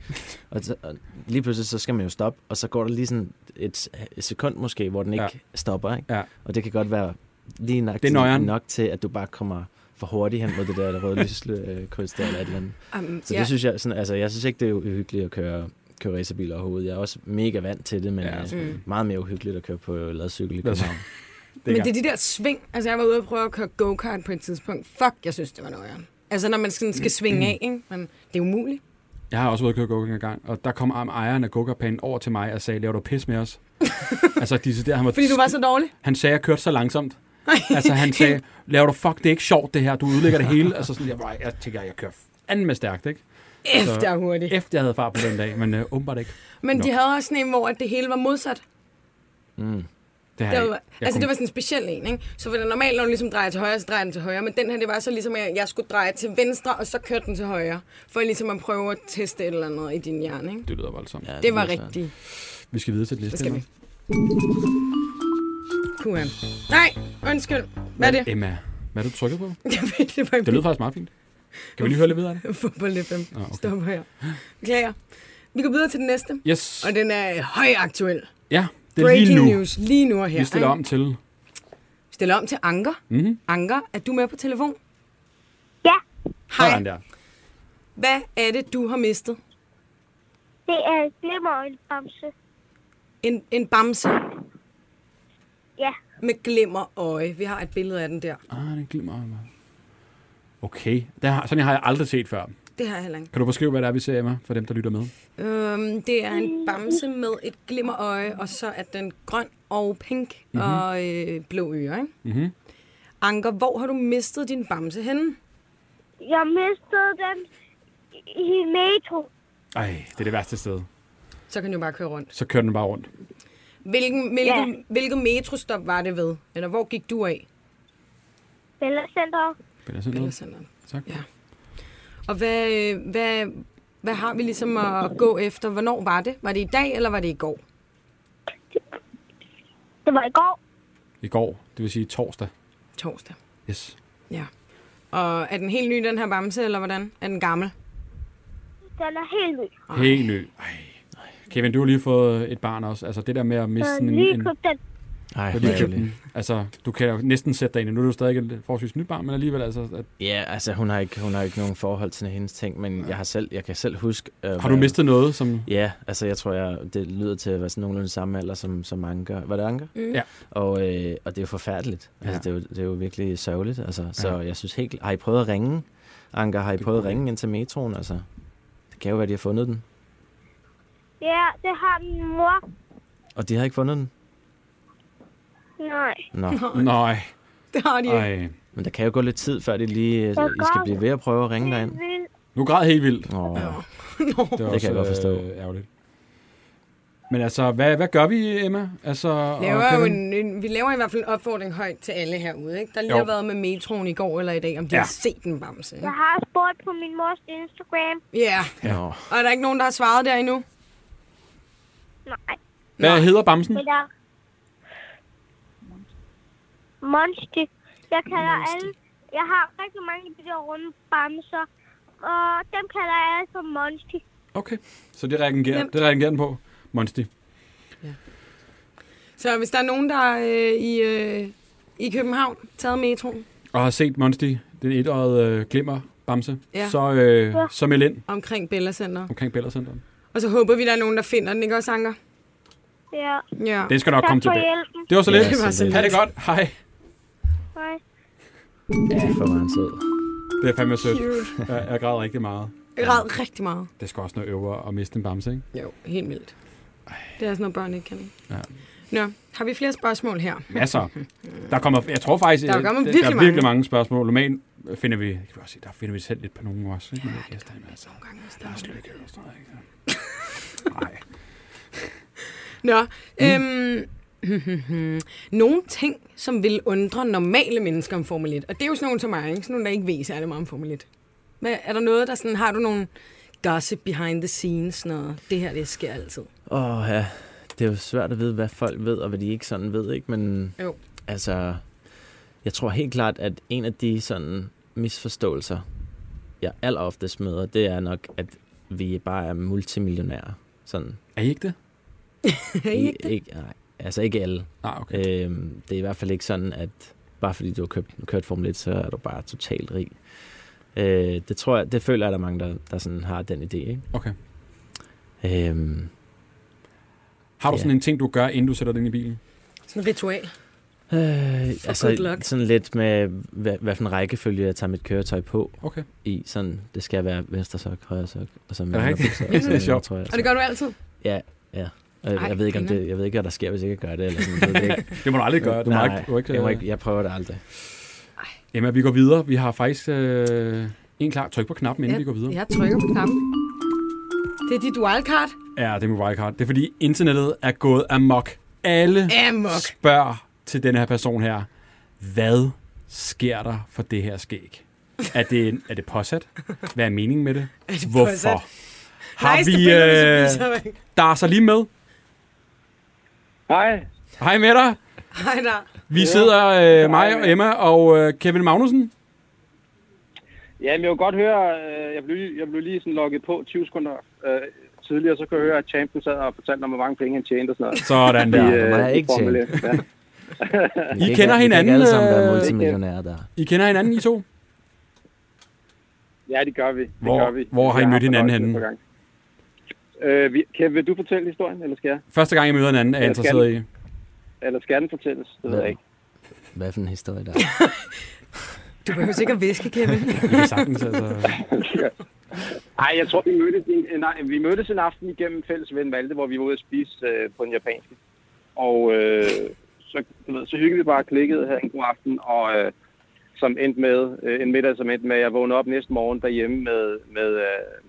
Speaker 2: Og, så, og lige pludselig, så skal man jo stoppe, og så går der lige sådan et, et sekund måske, hvor den ikke
Speaker 4: Ja.
Speaker 2: ja. stopper, ikke?
Speaker 4: Ja.
Speaker 2: Og det kan godt være lige nok,
Speaker 4: Det er nøjeren.
Speaker 2: nok til, at du bare kommer for hurtigt hen mod det der
Speaker 4: (laughs)
Speaker 2: røde lyskryds der eller et eller andet.
Speaker 3: Um,
Speaker 2: Så ja. det synes jeg, sådan, altså, jeg synes ikke, det er uhyggeligt at køre, køre racerbil overhovedet. Jeg er også mega vant til det, men
Speaker 4: Ja,
Speaker 2: ja.
Speaker 3: Mm.
Speaker 2: meget mere uhyggeligt at køre på ladcykel i
Speaker 4: Lad os-
Speaker 2: København.
Speaker 4: (laughs) Det
Speaker 3: Men
Speaker 4: er
Speaker 3: det er de der sving. Altså, jeg var ude og prøve at køre go-kart på et tidspunkt. Fuck, jeg synes, det var nøjeren. Altså, når man sådan skal svinge af, ikke? Men det er umuligt.
Speaker 4: Jeg har også været ude at køre go en gang, og der kom am- ejeren af go over til mig og sagde, laver du pis med
Speaker 3: (laughs)
Speaker 4: os? altså, de, der, han, var,
Speaker 3: Fordi du var så dårlig.
Speaker 4: han sagde, at jeg kørte så langsomt. altså, han sagde, laver du fuck, det er ikke sjovt det her, du ødelægger det hele. Altså, sådan, jeg, var, jeg tænker, jeg kører anden med stærkt, ikke?
Speaker 3: Efter hurtigt.
Speaker 4: Efter jeg havde far på den dag, men øh, åbenbart ikke.
Speaker 3: (laughs) Men de
Speaker 4: Nå.
Speaker 3: havde også sådan en, hvor at det hele var modsat.
Speaker 2: Mm.
Speaker 4: Det har
Speaker 3: Det var,
Speaker 4: jeg ikke. Jeg
Speaker 3: altså,
Speaker 4: kom-
Speaker 3: det var sådan en speciel en, ikke? Så for det normalt, når du ligesom drejer til højre, så drejer den til højre. Men den her, det var så ligesom, at jeg skulle dreje til venstre, og så kørte den til højre. For ligesom at prøve at teste et eller andet i din hjerne, ikke?
Speaker 4: Det lyder voldsomt.
Speaker 2: Ja,
Speaker 3: Det var
Speaker 2: lyder svært.
Speaker 3: rigtigt.
Speaker 4: Vi skal videre til et liste.
Speaker 3: Hvad skal vi? Kuhan. Nej, undskyld. Hvad er det?
Speaker 4: Emma, hvad er
Speaker 3: (laughs)
Speaker 4: du trykket på?
Speaker 3: Jeg ved (laughs) det var
Speaker 4: Det lød faktisk meget fint. Kan vi lige høre lidt videre af det?
Speaker 3: (laughs) Fodbold FM.
Speaker 4: Ah, okay.
Speaker 3: Stopper her. Beklager. Vi går videre til den næste.
Speaker 4: Yes.
Speaker 3: Og den er højaktuel.
Speaker 4: Ja, det er lige
Speaker 3: Breaking
Speaker 4: nu.
Speaker 3: news lige nu og her.
Speaker 4: Vi stiller
Speaker 3: ikke?
Speaker 4: om til...
Speaker 3: Vi stiller om til Anker.
Speaker 4: Mhm.
Speaker 3: Anker, er du med på telefon?
Speaker 5: Ja,
Speaker 4: Sådan
Speaker 3: Hej.
Speaker 4: der.
Speaker 3: Hvad er det, du har mistet?
Speaker 5: det er glimmer og en bamse.
Speaker 3: En, en bamse
Speaker 5: Ja,
Speaker 3: med glimmer øje. Vi har et billede af den der.
Speaker 4: Ah, det glimmer mig. Okay, det har, sådan en har jeg aldrig set før.
Speaker 3: Det har jeg heller ikke.
Speaker 4: Kan du beskrive, hvad det er, vi ser, Emma, for dem, der lytter med?
Speaker 3: Øhm, det er en bamse med et glimmer øje, og så er den grøn og pink mm-hmm. og øh, blå ører. Ikke?
Speaker 4: Mhm.
Speaker 3: Anker, hvor har du mistet din bamse henne?
Speaker 5: jeg mistede den i i Metro.
Speaker 4: Ej, det er det værste sted.
Speaker 3: Så kan du bare køre rundt.
Speaker 4: Så kører den bare rundt.
Speaker 3: Hvilken, hvilken, ja. hvilken metrostop var det ved? Eller hvor gik du af?
Speaker 5: Bella Center.
Speaker 4: Vil jeg sådan noget?
Speaker 3: Bellacenteret.
Speaker 4: Tak.
Speaker 3: Ja. Og hvad, øh, hvad, hvad har vi ligesom at gå efter? Hvornår var det? Var det i dag, eller var det i går?
Speaker 5: Det var i går.
Speaker 4: I går, det vil sige torsdag.
Speaker 3: Torsdag.
Speaker 4: Yes.
Speaker 3: Ja. Og er den helt ny, den her bamse, eller hvordan? Er den gammel?
Speaker 5: Den er helt ny.
Speaker 4: Helt ny. Ej. Kevin, du har lige fået et barn også. Altså det der med at
Speaker 5: Jeg
Speaker 4: miste
Speaker 5: har
Speaker 4: sådan en...
Speaker 5: lige
Speaker 4: en-
Speaker 5: købt den.
Speaker 2: Ej,
Speaker 4: Du har
Speaker 2: hvor
Speaker 4: lige købt
Speaker 2: ærgerligt.
Speaker 4: den. Altså, du kan jo næsten sætte dig ind. i- Nu er du stadig et forholdsvis nyt barn, men alligevel altså... At,
Speaker 2: Ja, altså hun har ikke, hun har ikke nogen forhold til hendes ting, men jeg, har selv, jeg kan selv huske... Øh,
Speaker 4: har du mistet noget, som...
Speaker 2: Ja, altså jeg tror, jeg, det lyder til at være sådan nogenlunde samme alder, som, som Anker. Var det Anker?
Speaker 3: Mm.
Speaker 4: Ja.
Speaker 2: Og, øh, og det er jo forfærdeligt. Altså,
Speaker 4: Ja.
Speaker 2: det, er jo, det er jo virkelig sørgeligt. Altså. Så
Speaker 4: Ja.
Speaker 2: ja. jeg synes helt... Har I prøvet at ringe, Anker? Har I
Speaker 4: er
Speaker 2: prøvet at
Speaker 4: godt.
Speaker 2: ringe ind til metroen? Altså, det kan jo være, de har fundet den.
Speaker 5: Ja, det har min mor.
Speaker 2: Og de har ikke fundet den?
Speaker 5: Nej.
Speaker 3: (laughs)
Speaker 2: Nå.
Speaker 4: Nej,
Speaker 3: Det har de ikke.
Speaker 4: ej.
Speaker 2: Men der kan jo gå lidt tid, før de lige... øh, I skal
Speaker 5: godt.
Speaker 2: blive ved at prøve at ringe
Speaker 5: Det
Speaker 2: derind.
Speaker 5: vil
Speaker 4: Nu græd helt vildt.
Speaker 3: (laughs)
Speaker 2: Åh,
Speaker 4: Det, er
Speaker 2: Det
Speaker 4: også,
Speaker 2: kan jeg godt forstå.
Speaker 4: Øh, ærgerligt. Men altså, hvad, hvad gør vi, Emma? Altså, og
Speaker 3: Laver jo
Speaker 4: Kevin?
Speaker 3: en, en, vi laver i hvert fald en opfordring højt til alle herude. Ikke? Der lige
Speaker 4: Jo.
Speaker 3: har været med metroen i går eller i dag, om de
Speaker 4: Ja.
Speaker 3: ja. har set en bamse. ikke?
Speaker 5: Jeg har spurgt på min mors Instagram.
Speaker 3: Ja.
Speaker 2: nå.
Speaker 3: Og er der ikke nogen, der har svaret der endnu?
Speaker 5: Nej,
Speaker 4: Hvad hedder Bamsen?
Speaker 5: men der... Monster. Jeg kalder
Speaker 3: Monster.
Speaker 5: alle... Jeg har rigtig mange af de der runde bamser.
Speaker 6: og dem kalder jeg for Monty.
Speaker 4: Okay, så det reagerer,
Speaker 3: Nemt.
Speaker 4: det reagerer den på. Monsti.
Speaker 3: Så hvis der er nogen, der er øh, i, øh, i København taget metroen
Speaker 4: Og har set Monsti, den etårede øh, glimmer, Bamse,
Speaker 3: Ja.
Speaker 4: ja. så, øh,
Speaker 6: Ja.
Speaker 4: så meld ind
Speaker 3: omkring Bella Center.
Speaker 4: omkring Bællercenteren.
Speaker 3: Og så håber vi, der er nogen, der finder den, ikke også, Anker?
Speaker 6: Ja.
Speaker 3: Ja.
Speaker 4: Den skal nok
Speaker 6: Tak
Speaker 4: komme
Speaker 6: for
Speaker 4: tilbage.
Speaker 6: hjælpen.
Speaker 4: Det var så lidt.
Speaker 2: Ja,
Speaker 3: Det var så
Speaker 2: lidt.
Speaker 4: Ha' det godt. Hej.
Speaker 6: Hej.
Speaker 2: For var han sød.
Speaker 4: Det er fandme sødt.
Speaker 3: Cute.
Speaker 4: Jeg, jeg græder rigtig meget.
Speaker 3: Jeg græd rigtig meget.
Speaker 4: Det skal også noget øvre at miste en bamse, ikke?
Speaker 3: Jo, helt vildt. Det er sådan noget, børn ikke kan. ikke?
Speaker 4: Ja.
Speaker 3: Nå, har vi flere spørgsmål her?
Speaker 4: Masser. Der kommer, jeg tror faktisk,
Speaker 3: Der
Speaker 4: der,
Speaker 3: kommer
Speaker 4: der,
Speaker 3: virkelig
Speaker 4: der er
Speaker 3: mange.
Speaker 4: virkelig mange spørgsmål. Normalt finder vi, kan vi også se, der finder vi selv lidt på nogen også. Ikke? Men jeg gæster, jamen, altså, Lars Løkke eller sådan noget, ikke? Nej.
Speaker 3: Nå, øhm,
Speaker 4: Mm.
Speaker 3: (laughs) nogle ting, som vil undre normale mennesker om Formel 1. Og det er jo sådan nogle som mig, ikke? Sådan nogle, der ikke ved særlig meget om Formel 1. Hvad, er der noget, der sådan, har du nogle gossip behind the scenes, sådan noget? Det her, det sker altid.
Speaker 2: Åh ja, det er jo svært at vide, hvad folk ved, og hvad de ikke sådan ved, ikke? Men
Speaker 3: Jo.
Speaker 2: altså, jeg tror helt klart, at en af de sådan misforståelser, jeg alleroftest møder, det er nok, at vi bare er multimillionærer. Sådan.
Speaker 4: Er I ikke det?
Speaker 3: Er I ikke det?
Speaker 2: ikke, nej, altså ikke alle.
Speaker 4: Nej, Ah, okay.
Speaker 2: Øhm, det er i hvert fald ikke sådan, at bare fordi du har købt, kørt Formel 1, så er du bare totalt rig. Øh, det tror jeg, det føler jeg, at der er mange, der, der sådan har den idé, ikke?
Speaker 4: okay.
Speaker 2: Øhm,
Speaker 4: Har du
Speaker 2: Ja.
Speaker 4: sådan en ting, du gør, inden du sætter dig ind i bilen?
Speaker 3: Sådan et ritual.
Speaker 2: Øh,
Speaker 3: good
Speaker 2: altså
Speaker 3: luck.
Speaker 2: sådan lidt med, hvad, hvad for en rækkefølge jeg tager mit køretøj på
Speaker 4: Okay.
Speaker 2: i. Sådan, det skal være venstre sok, højre sok, og så
Speaker 4: det rigtigt?
Speaker 2: sok,
Speaker 4: Det er
Speaker 2: og så
Speaker 4: sjovt.
Speaker 2: tror jeg.
Speaker 3: Og det gør du altid?
Speaker 2: jeg,
Speaker 3: Ej,
Speaker 2: jeg, ved ikke, om
Speaker 3: griner.
Speaker 2: det, jeg ved ikke, hvad der sker, hvis jeg ikke gør det. Eller sådan, jeg ved det ikke.
Speaker 4: Det må du aldrig gøre. Du må
Speaker 2: Nej,
Speaker 4: ikke, du må ikke,
Speaker 2: jeg, må ikke, jeg prøver det aldrig.
Speaker 4: Emma, vi går videre. Vi har faktisk øh, en klar. Tryk på knappen, inden vi går videre.
Speaker 3: Jeg trykker på knappen. Det er dit wildcard.
Speaker 4: Ja, det er min wildcard. Det er fordi, internettet er gået amok. Alle
Speaker 3: Amok.
Speaker 4: spørger til den her person her, hvad sker der for det her skæg? Er det, er det påsat? Hvad er meningen med det?
Speaker 3: Er det påsat?
Speaker 4: Hvorfor? Har
Speaker 3: Nice, det
Speaker 4: vi...
Speaker 3: billede,
Speaker 4: Øh,
Speaker 3: hvis jeg viser mig.
Speaker 4: der er så lige med.
Speaker 7: Hej.
Speaker 4: Hej med dig.
Speaker 3: Hej der.
Speaker 4: Vi sidder, øh, mig og Emma og øh, Kevin Magnussen.
Speaker 11: Ja, men jeg vil godt høre, øh, jeg blev, lige- jeg blev lige sådan logget på 20 sekunder øh, tidligere, så kunne jeg høre, at champion sad og fortalte om, hvor mange penge han tjente og sådan noget.
Speaker 4: Sådan der.
Speaker 2: Ja, hvor meget
Speaker 11: øh,
Speaker 2: jeg
Speaker 11: i
Speaker 2: ikke
Speaker 11: Formel 1. Ja.
Speaker 2: Vi
Speaker 4: (laughs) I
Speaker 2: kan
Speaker 4: kender
Speaker 2: ikke, vi
Speaker 4: hinanden,
Speaker 2: Kan ikke alle sammen
Speaker 4: øh,
Speaker 2: være multimillionærer der.
Speaker 4: I kender hinanden, I to?
Speaker 11: ja, det gør vi. Det
Speaker 4: Hvor-
Speaker 11: gør vi.
Speaker 4: hvor har I
Speaker 11: Jeg
Speaker 4: mødt hinanden
Speaker 11: fornøjelsen
Speaker 4: henne?
Speaker 11: et par gange. Øh, vi, Kev, vil du fortælle historien, eller skal jeg?
Speaker 4: Første gang, jeg møder hinanden, er jeg
Speaker 11: Jeg skal.
Speaker 4: interesseret i.
Speaker 11: Eller skal den fortælles? Det ved jeg
Speaker 4: (laughs)
Speaker 11: ikke.
Speaker 2: Hvad for en historie der?
Speaker 3: Du behøver sikkert væske,
Speaker 4: (laughs)
Speaker 3: Kevin.
Speaker 4: I kan sagtens, altså.
Speaker 11: (laughs) Nej, jeg tror, vi mødtes, en, en, nej, vi mødtes en aften igennem en fælles ven Malte, hvor vi var ude at spise øh, på den japanske. Og øh, så, du ved, så hyggede vi bare klikket havde en god aften, og øh, som endte med, øh, en middag, som endte med, at jeg vågnede op næste morgen derhjemme med, med, øh,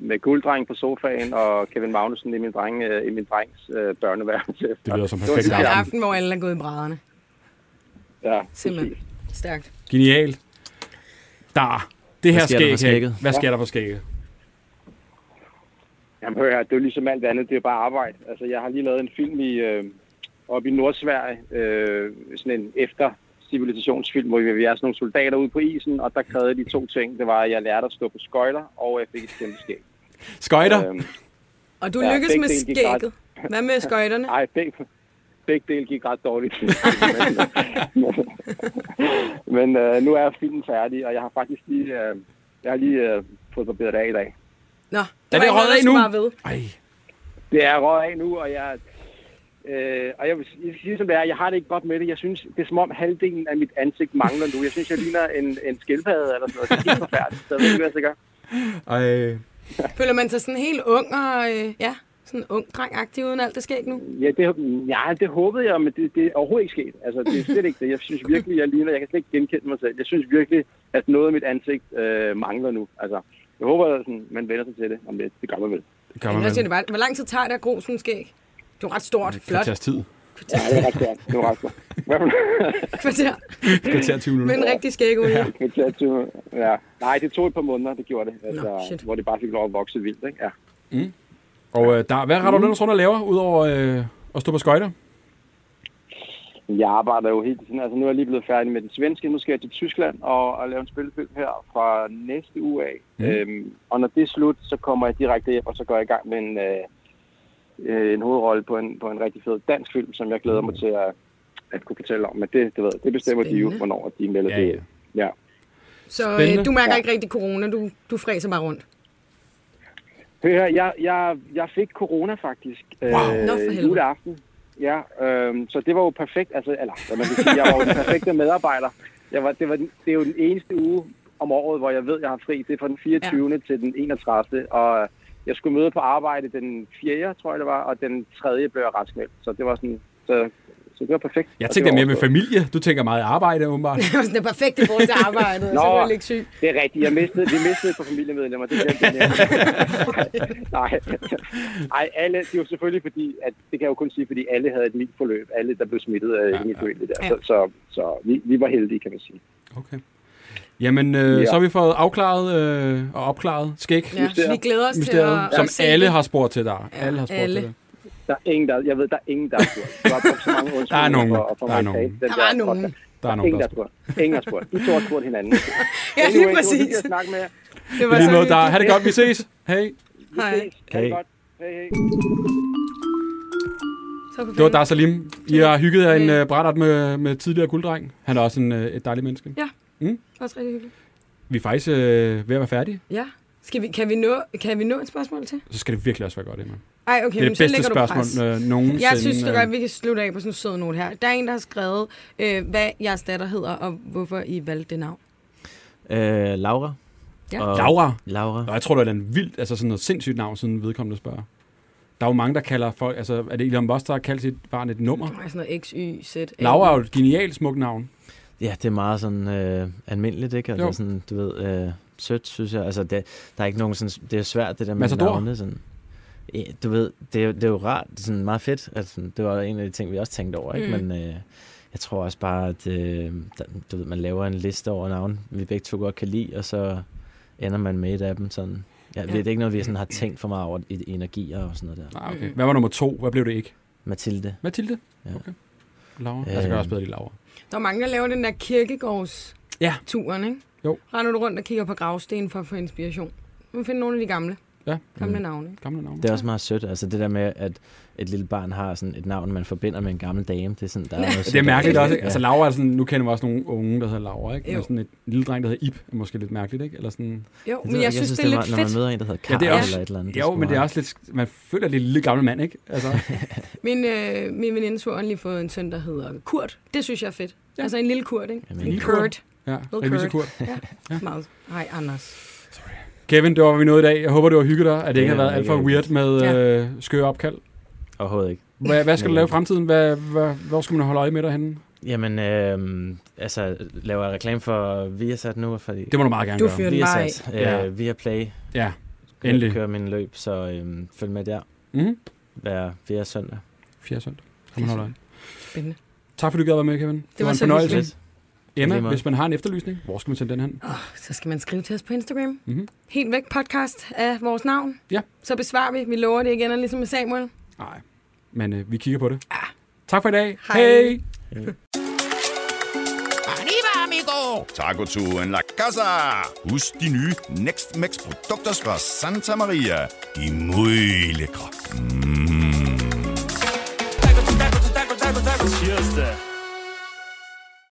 Speaker 11: med gulddreng på sofaen og Kevin Magnussen i min, dreng, øh, i min drengs øh, børneværelse.
Speaker 4: Det lyder som
Speaker 11: var
Speaker 4: perfekt
Speaker 11: en
Speaker 3: Det er en
Speaker 4: aften.
Speaker 3: aften, hvor alle er gået i brædderne.
Speaker 11: Ja,
Speaker 3: Simpelthen.
Speaker 11: præcis.
Speaker 3: Stærkt.
Speaker 4: Genialt. Der. Det her
Speaker 2: Hvad sker der for
Speaker 4: skæg her.
Speaker 2: skægget?
Speaker 4: Hvad sker der for skægget?
Speaker 11: Jamen hør her, det er jo ligesom alt andet, det er bare arbejde. Altså jeg har lige lavet en film i, øh, oppe i Nordsverige, øh, sådan en efter civilisationsfilm, hvor vi, vi er sådan nogle soldater ude på isen, og der krævede de to ting. Det var, at jeg lærte at stå på skøjter, og jeg fik et kæmpe skæg.
Speaker 4: Skøjter.
Speaker 11: Øhm,
Speaker 3: Og du ja,
Speaker 11: Ja,
Speaker 3: lykkes
Speaker 11: begge
Speaker 3: med
Speaker 11: dele gik ret.
Speaker 3: skægget. Hvad
Speaker 11: (laughs)
Speaker 3: med skøjterne?
Speaker 11: ej, begge, begge dele gik
Speaker 3: (laughs)
Speaker 11: ret dårligt. (laughs) Men øh, nu er filmen færdig, og jeg har faktisk lige, øh, jeg har lige øh, fået barberet af i dag.
Speaker 3: Nå,
Speaker 4: Er
Speaker 3: var
Speaker 4: det
Speaker 3: ikke noget,
Speaker 4: røget
Speaker 3: der
Speaker 4: af
Speaker 3: skulle
Speaker 4: nu?
Speaker 3: meget ved.
Speaker 4: Ej,
Speaker 11: Det er røget af nu, og jeg... Øh, og jeg vil sige- jeg vil sige, som det er, jeg har det ikke godt med det. Jeg synes, det er som om halvdelen af mit ansigt mangler nu. Jeg synes, jeg ligner en, en skildpadde eller sådan noget. Det er helt forfærdeligt. Så jeg ved ikke, hvad jeg skal gøre.
Speaker 4: ej.
Speaker 3: Føler man sig sådan helt ung og øh, ja, sådan ung drengagtig uden alt det skæg nu?
Speaker 11: Ja, det, ja, det håbede jeg, men det, det er overhovedet ikke sket. Altså, det er slet ikke det. Jeg synes virkelig, jeg ligner... Jeg kan slet ikke genkende mig selv. Jeg synes virkelig, at noget af mit ansigt øh, mangler nu. Altså, jeg håber, at sådan, man vender sig til det om lidt. Det gør man vel.
Speaker 4: Det gør
Speaker 3: Men
Speaker 4: man
Speaker 3: jeg
Speaker 4: vel.
Speaker 3: siger det bare, hvor lang tid tager det at gro sådan et skæg? Det er jo ret stort,
Speaker 4: Det
Speaker 3: flot
Speaker 4: Kvarters tid.
Speaker 11: Ja, det er ret svært. Det er ret svært. Hvad for noget?
Speaker 4: (laughs)
Speaker 3: kvarter.
Speaker 4: Kvarter 20
Speaker 3: Med en
Speaker 4: minutter.
Speaker 3: rigtig skægolie. Ja.
Speaker 11: Kvartativ. Ja. Nej, det tog et par måneder, det gjorde det. Altså,
Speaker 3: Nå, shit.
Speaker 11: hvor det bare fik lov at vokse vildt, ikke? Ja.
Speaker 4: Mm. Og øh, der, hvad retter du ellers rundt og laver, udover øh, at stå på skøjter?
Speaker 11: Jeg arbejder jo helt tiden. Altså, nu er jeg lige blevet færdig med den svenske. Nu skal jeg til Tyskland og, og lave en spillefilm her fra næste uge af.
Speaker 12: Mm.
Speaker 11: Mm. Øhm, og når det er slut, så kommer jeg direkte hjem, og så går jeg i gang med en, øh, øh, en hovedrolle på en, på en rigtig fed dansk film, som jeg glæder mig
Speaker 4: Mm.
Speaker 11: til at, at kunne fortælle om. Men det, det, ved, jeg, det bestemmer Spændende. de jo,
Speaker 3: Spændende.
Speaker 11: hvornår de melder
Speaker 4: Ja,
Speaker 11: det
Speaker 4: ja.
Speaker 11: ind. Ja.
Speaker 3: Så
Speaker 11: Spændende.
Speaker 3: øh, du mærker
Speaker 11: Ja.
Speaker 3: ikke rigtig corona, du, du fræser bare rundt.
Speaker 11: Hør her, jeg, jeg, jeg fik corona faktisk wow.
Speaker 3: Nå, for helvede.
Speaker 11: juleaften. Ja, øh, så det var jo perfekt. Altså, eller, hvad man kan sige, jeg var jo den perfekte medarbejder. Jeg var, det, var, den- det er jo den eneste uge om året, hvor jeg ved, jeg har fri. Det er fra den 24. Ja. til den 31. Og jeg skulle møde på arbejde den 4. tror jeg det var, og den 3. blev jeg raskmeldt. Så det var sådan, så, så det var perfekt.
Speaker 4: Jeg
Speaker 11: Og
Speaker 4: tænker
Speaker 11: det var
Speaker 4: mere med
Speaker 11: overstået.
Speaker 4: familie. Du tænker meget arbejde,
Speaker 11: (laughs)
Speaker 4: åbenbart.
Speaker 3: (laughs) Det var sådan det perfekte forhold til arbejdet,
Speaker 11: Nå.
Speaker 3: så var jeg ikke syg.
Speaker 11: Det er rigtigt. Jeg mistede, vi mistede et par familiemedlemmer. Det glemte jeg nævnt. Nej. Nej, alle, det er jo selvfølgelig fordi, at det kan jeg jo kun sige, fordi alle havde et mildt forløb. Alle, der blev smittet af ja, ja. der.
Speaker 4: Ja.
Speaker 11: Så, så, så vi, vi var heldige, kan man sige.
Speaker 4: Okay. Jamen, øh,
Speaker 11: Ja.
Speaker 4: så har vi fået afklaret øh, og opklaret skæg.
Speaker 3: Ja, Mysteriet. vi glæder os til at-
Speaker 4: Som
Speaker 3: at se
Speaker 4: alle
Speaker 3: det.
Speaker 4: har spurgt til dig. Ja, alle har spurgt
Speaker 3: alle.
Speaker 4: til dig.
Speaker 11: Der er ingen, der, jeg ved, der er ingen, der har spurgt. Du har brugt så mange
Speaker 4: Der er nogen.
Speaker 11: undskyldninger for, for
Speaker 4: Der er
Speaker 11: mig at
Speaker 4: nogen.
Speaker 11: tale. Den
Speaker 3: Der var nogen.
Speaker 11: podcast.
Speaker 4: Der er nogen,
Speaker 11: ingen,
Speaker 4: der
Speaker 11: der har spurgt. Ingen har spurgt. I to har spurgt
Speaker 4: (laughs)
Speaker 11: hinanden.
Speaker 3: Ja,
Speaker 11: Anyway,
Speaker 3: lige
Speaker 11: det var
Speaker 3: præcis.
Speaker 11: hyggeligt at snakke med jer.
Speaker 4: Det var lige måde, der. Ha' det godt, vi ses. Hej.
Speaker 3: Hej.
Speaker 11: Ha' det
Speaker 4: Hej.
Speaker 11: godt. Hej, hej.
Speaker 3: Så på
Speaker 4: Det var
Speaker 3: fanden.
Speaker 4: Dar Salim. I har hygget jer en øh, brætart med, med tidligere gulddreng. Han er også en, øh, et dejligt menneske.
Speaker 3: Ja,
Speaker 4: Mm.
Speaker 3: også rigtig hyggeligt.
Speaker 4: Vi er faktisk øh, ved at være færdige.
Speaker 3: Ja. Skal vi, kan, vi nå, kan vi nå et spørgsmål til?
Speaker 4: Så skal det virkelig også være godt, Emma.
Speaker 3: Ej, okay,
Speaker 4: det er
Speaker 3: men
Speaker 4: det
Speaker 3: så
Speaker 4: bedste
Speaker 3: lægger du
Speaker 4: spørgsmål
Speaker 3: pres.
Speaker 4: øh, nogensinde.
Speaker 3: Jeg synes det
Speaker 4: øh,
Speaker 3: godt, vi kan slutte af på sådan en sød note her. Der er en, der har skrevet, øh, hvad jeres datter hedder, og hvorfor I valgte det navn.
Speaker 2: Øh, Laura.
Speaker 3: Ja.
Speaker 4: Laura?
Speaker 2: Laura.
Speaker 4: Nå, jeg tror, det er en vildt, altså sådan noget sindssygt navn, siden vedkommende spørger. Der er jo mange, der kalder folk, altså er det Elon Musk, der har kaldt sit barn et nummer?
Speaker 3: Ej, Sådan noget X, Y, Z.
Speaker 4: Laura er jo et genialt smukt navn.
Speaker 2: Ja, det er meget sådan øh, almindeligt, ikke? Altså
Speaker 4: Jo.
Speaker 2: sådan, du ved, øh, sødt, synes jeg. Altså, det, der er ikke nogen sådan, det er svært, det der med
Speaker 4: Matador?
Speaker 2: navne, sådan. Ja, Du ved, det er, jo- det er jo rart, det er sådan meget fedt. Altså, det var en af de ting, vi også tænkte over, ikke?
Speaker 4: Mm.
Speaker 2: Men øh, jeg tror også bare, at øh, der, du ved, man laver en liste over navne, vi begge to godt kan lide, og så ender man med et af dem sådan. Ja, ja.
Speaker 4: Ja.
Speaker 2: Det er ikke noget, vi sådan har tænkt for meget over i i energier og sådan noget der.
Speaker 4: Ah, okay. Hvad var nummer to? Hvad blev det ikke?
Speaker 2: Mathilde.
Speaker 4: Mathilde?
Speaker 2: Ja.
Speaker 4: Okay. Laura? Altså, jeg kan
Speaker 2: Øhm.
Speaker 4: også bedre lide Laura.
Speaker 3: Der er mange, der laver den der kirkegårds
Speaker 4: Ja.
Speaker 3: turen, ikke?
Speaker 4: Jo.
Speaker 3: Render du rundt og kigger på gravsten for at få inspiration. Man finder nogle af de gamle.
Speaker 4: Ja.
Speaker 3: Gamle
Speaker 2: Mm.
Speaker 3: navne. ikke?
Speaker 4: Gamle navne.
Speaker 2: Det er også meget sødt. Altså det der med, at et lille barn har sådan et navn, man forbinder med en gammel dame. Det er, sådan,
Speaker 3: (laughs)
Speaker 2: der er,
Speaker 3: Ja.
Speaker 2: noget
Speaker 4: Det er
Speaker 2: sødt
Speaker 4: mærkeligt
Speaker 2: over
Speaker 4: også,
Speaker 2: det.
Speaker 4: ikke? Altså Laura er sådan, nu kender vi også nogle unge, der hedder Laura, ikke?
Speaker 3: Jo.
Speaker 4: Men sådan et lille dreng, der hedder Ib, er måske lidt mærkeligt, ikke? Eller sådan...
Speaker 3: Jo, men jeg, jeg synes, det er
Speaker 2: var-
Speaker 3: lidt fedt.
Speaker 2: når man møder en, der hedder Karl eller et eller andet, det er
Speaker 4: Jo,
Speaker 2: sgu
Speaker 4: men det er
Speaker 2: meget-
Speaker 4: også lidt... Man føler, det er en lille gammel mand, ikke?
Speaker 2: (laughs)
Speaker 4: Altså,
Speaker 3: Min, øh, min veninde har lige fået en søn, der hedder Kurt. Det synes jeg er fedt. Ja. Altså en lille Kurt, ikke?
Speaker 4: Jamen,
Speaker 3: en
Speaker 4: lille
Speaker 3: lille
Speaker 4: Kurt.
Speaker 3: Kurt.
Speaker 4: Ja,
Speaker 3: Little
Speaker 4: revisor Kurt.
Speaker 3: Ja. ja. Meget. Hej, Anders.
Speaker 4: Kevin, det var hvad vi nåede i dag. Jeg håber, det var hygget dig, at det ikke
Speaker 2: Ja,
Speaker 4: har været alt for
Speaker 2: mega
Speaker 4: weird
Speaker 2: hyggeligt.
Speaker 4: med øh, skøre opkald.
Speaker 2: Overhovedet ikke.
Speaker 4: Hvad, hvad skal du
Speaker 2: Men-
Speaker 4: lave i fremtiden? Hvad, hvad, hvor skal man holde øje med dig henne?
Speaker 2: Jamen, øh, altså, laver jeg reklame for Viasat nu? Fordi
Speaker 4: Det må du meget gerne Du gøre. fyrer den bare
Speaker 2: Viasat,
Speaker 4: af.
Speaker 2: øh,
Speaker 4: Ja.
Speaker 2: ja. via Play.
Speaker 4: Ja,
Speaker 2: Kø-
Speaker 4: endelig.
Speaker 2: Kører min løb, så øh, følg med der.
Speaker 4: Mhm.
Speaker 2: Hver fjerde søndag.
Speaker 4: Fjerde søndag. Kan man holde øje.
Speaker 3: Spændende.
Speaker 4: Tak fordi du gad være med, Kevin. Det,
Speaker 3: var
Speaker 4: en
Speaker 3: så
Speaker 4: fornøjelse.
Speaker 3: hyggeligt.
Speaker 4: Emma,
Speaker 2: Lige meget.
Speaker 4: hvis man har en efterlysning, hvor skal man sende den hen?
Speaker 3: Oh, så skal man skrive til os på Instagram.
Speaker 4: Mhm.
Speaker 3: Helt væk podcast af vores navn.
Speaker 4: Ja.
Speaker 3: Så besvarer vi. Vi lover det igen, og ligesom med Samuel.
Speaker 4: Nej, men øh, vi kigger på det. Tak for i dag.
Speaker 3: Ah. Hej.
Speaker 4: Hej.
Speaker 1: Arriba, amigo! Taco to en la casa! Husk de nye Next Max produkter fra Santa Maria. De er muy lækre. Mm.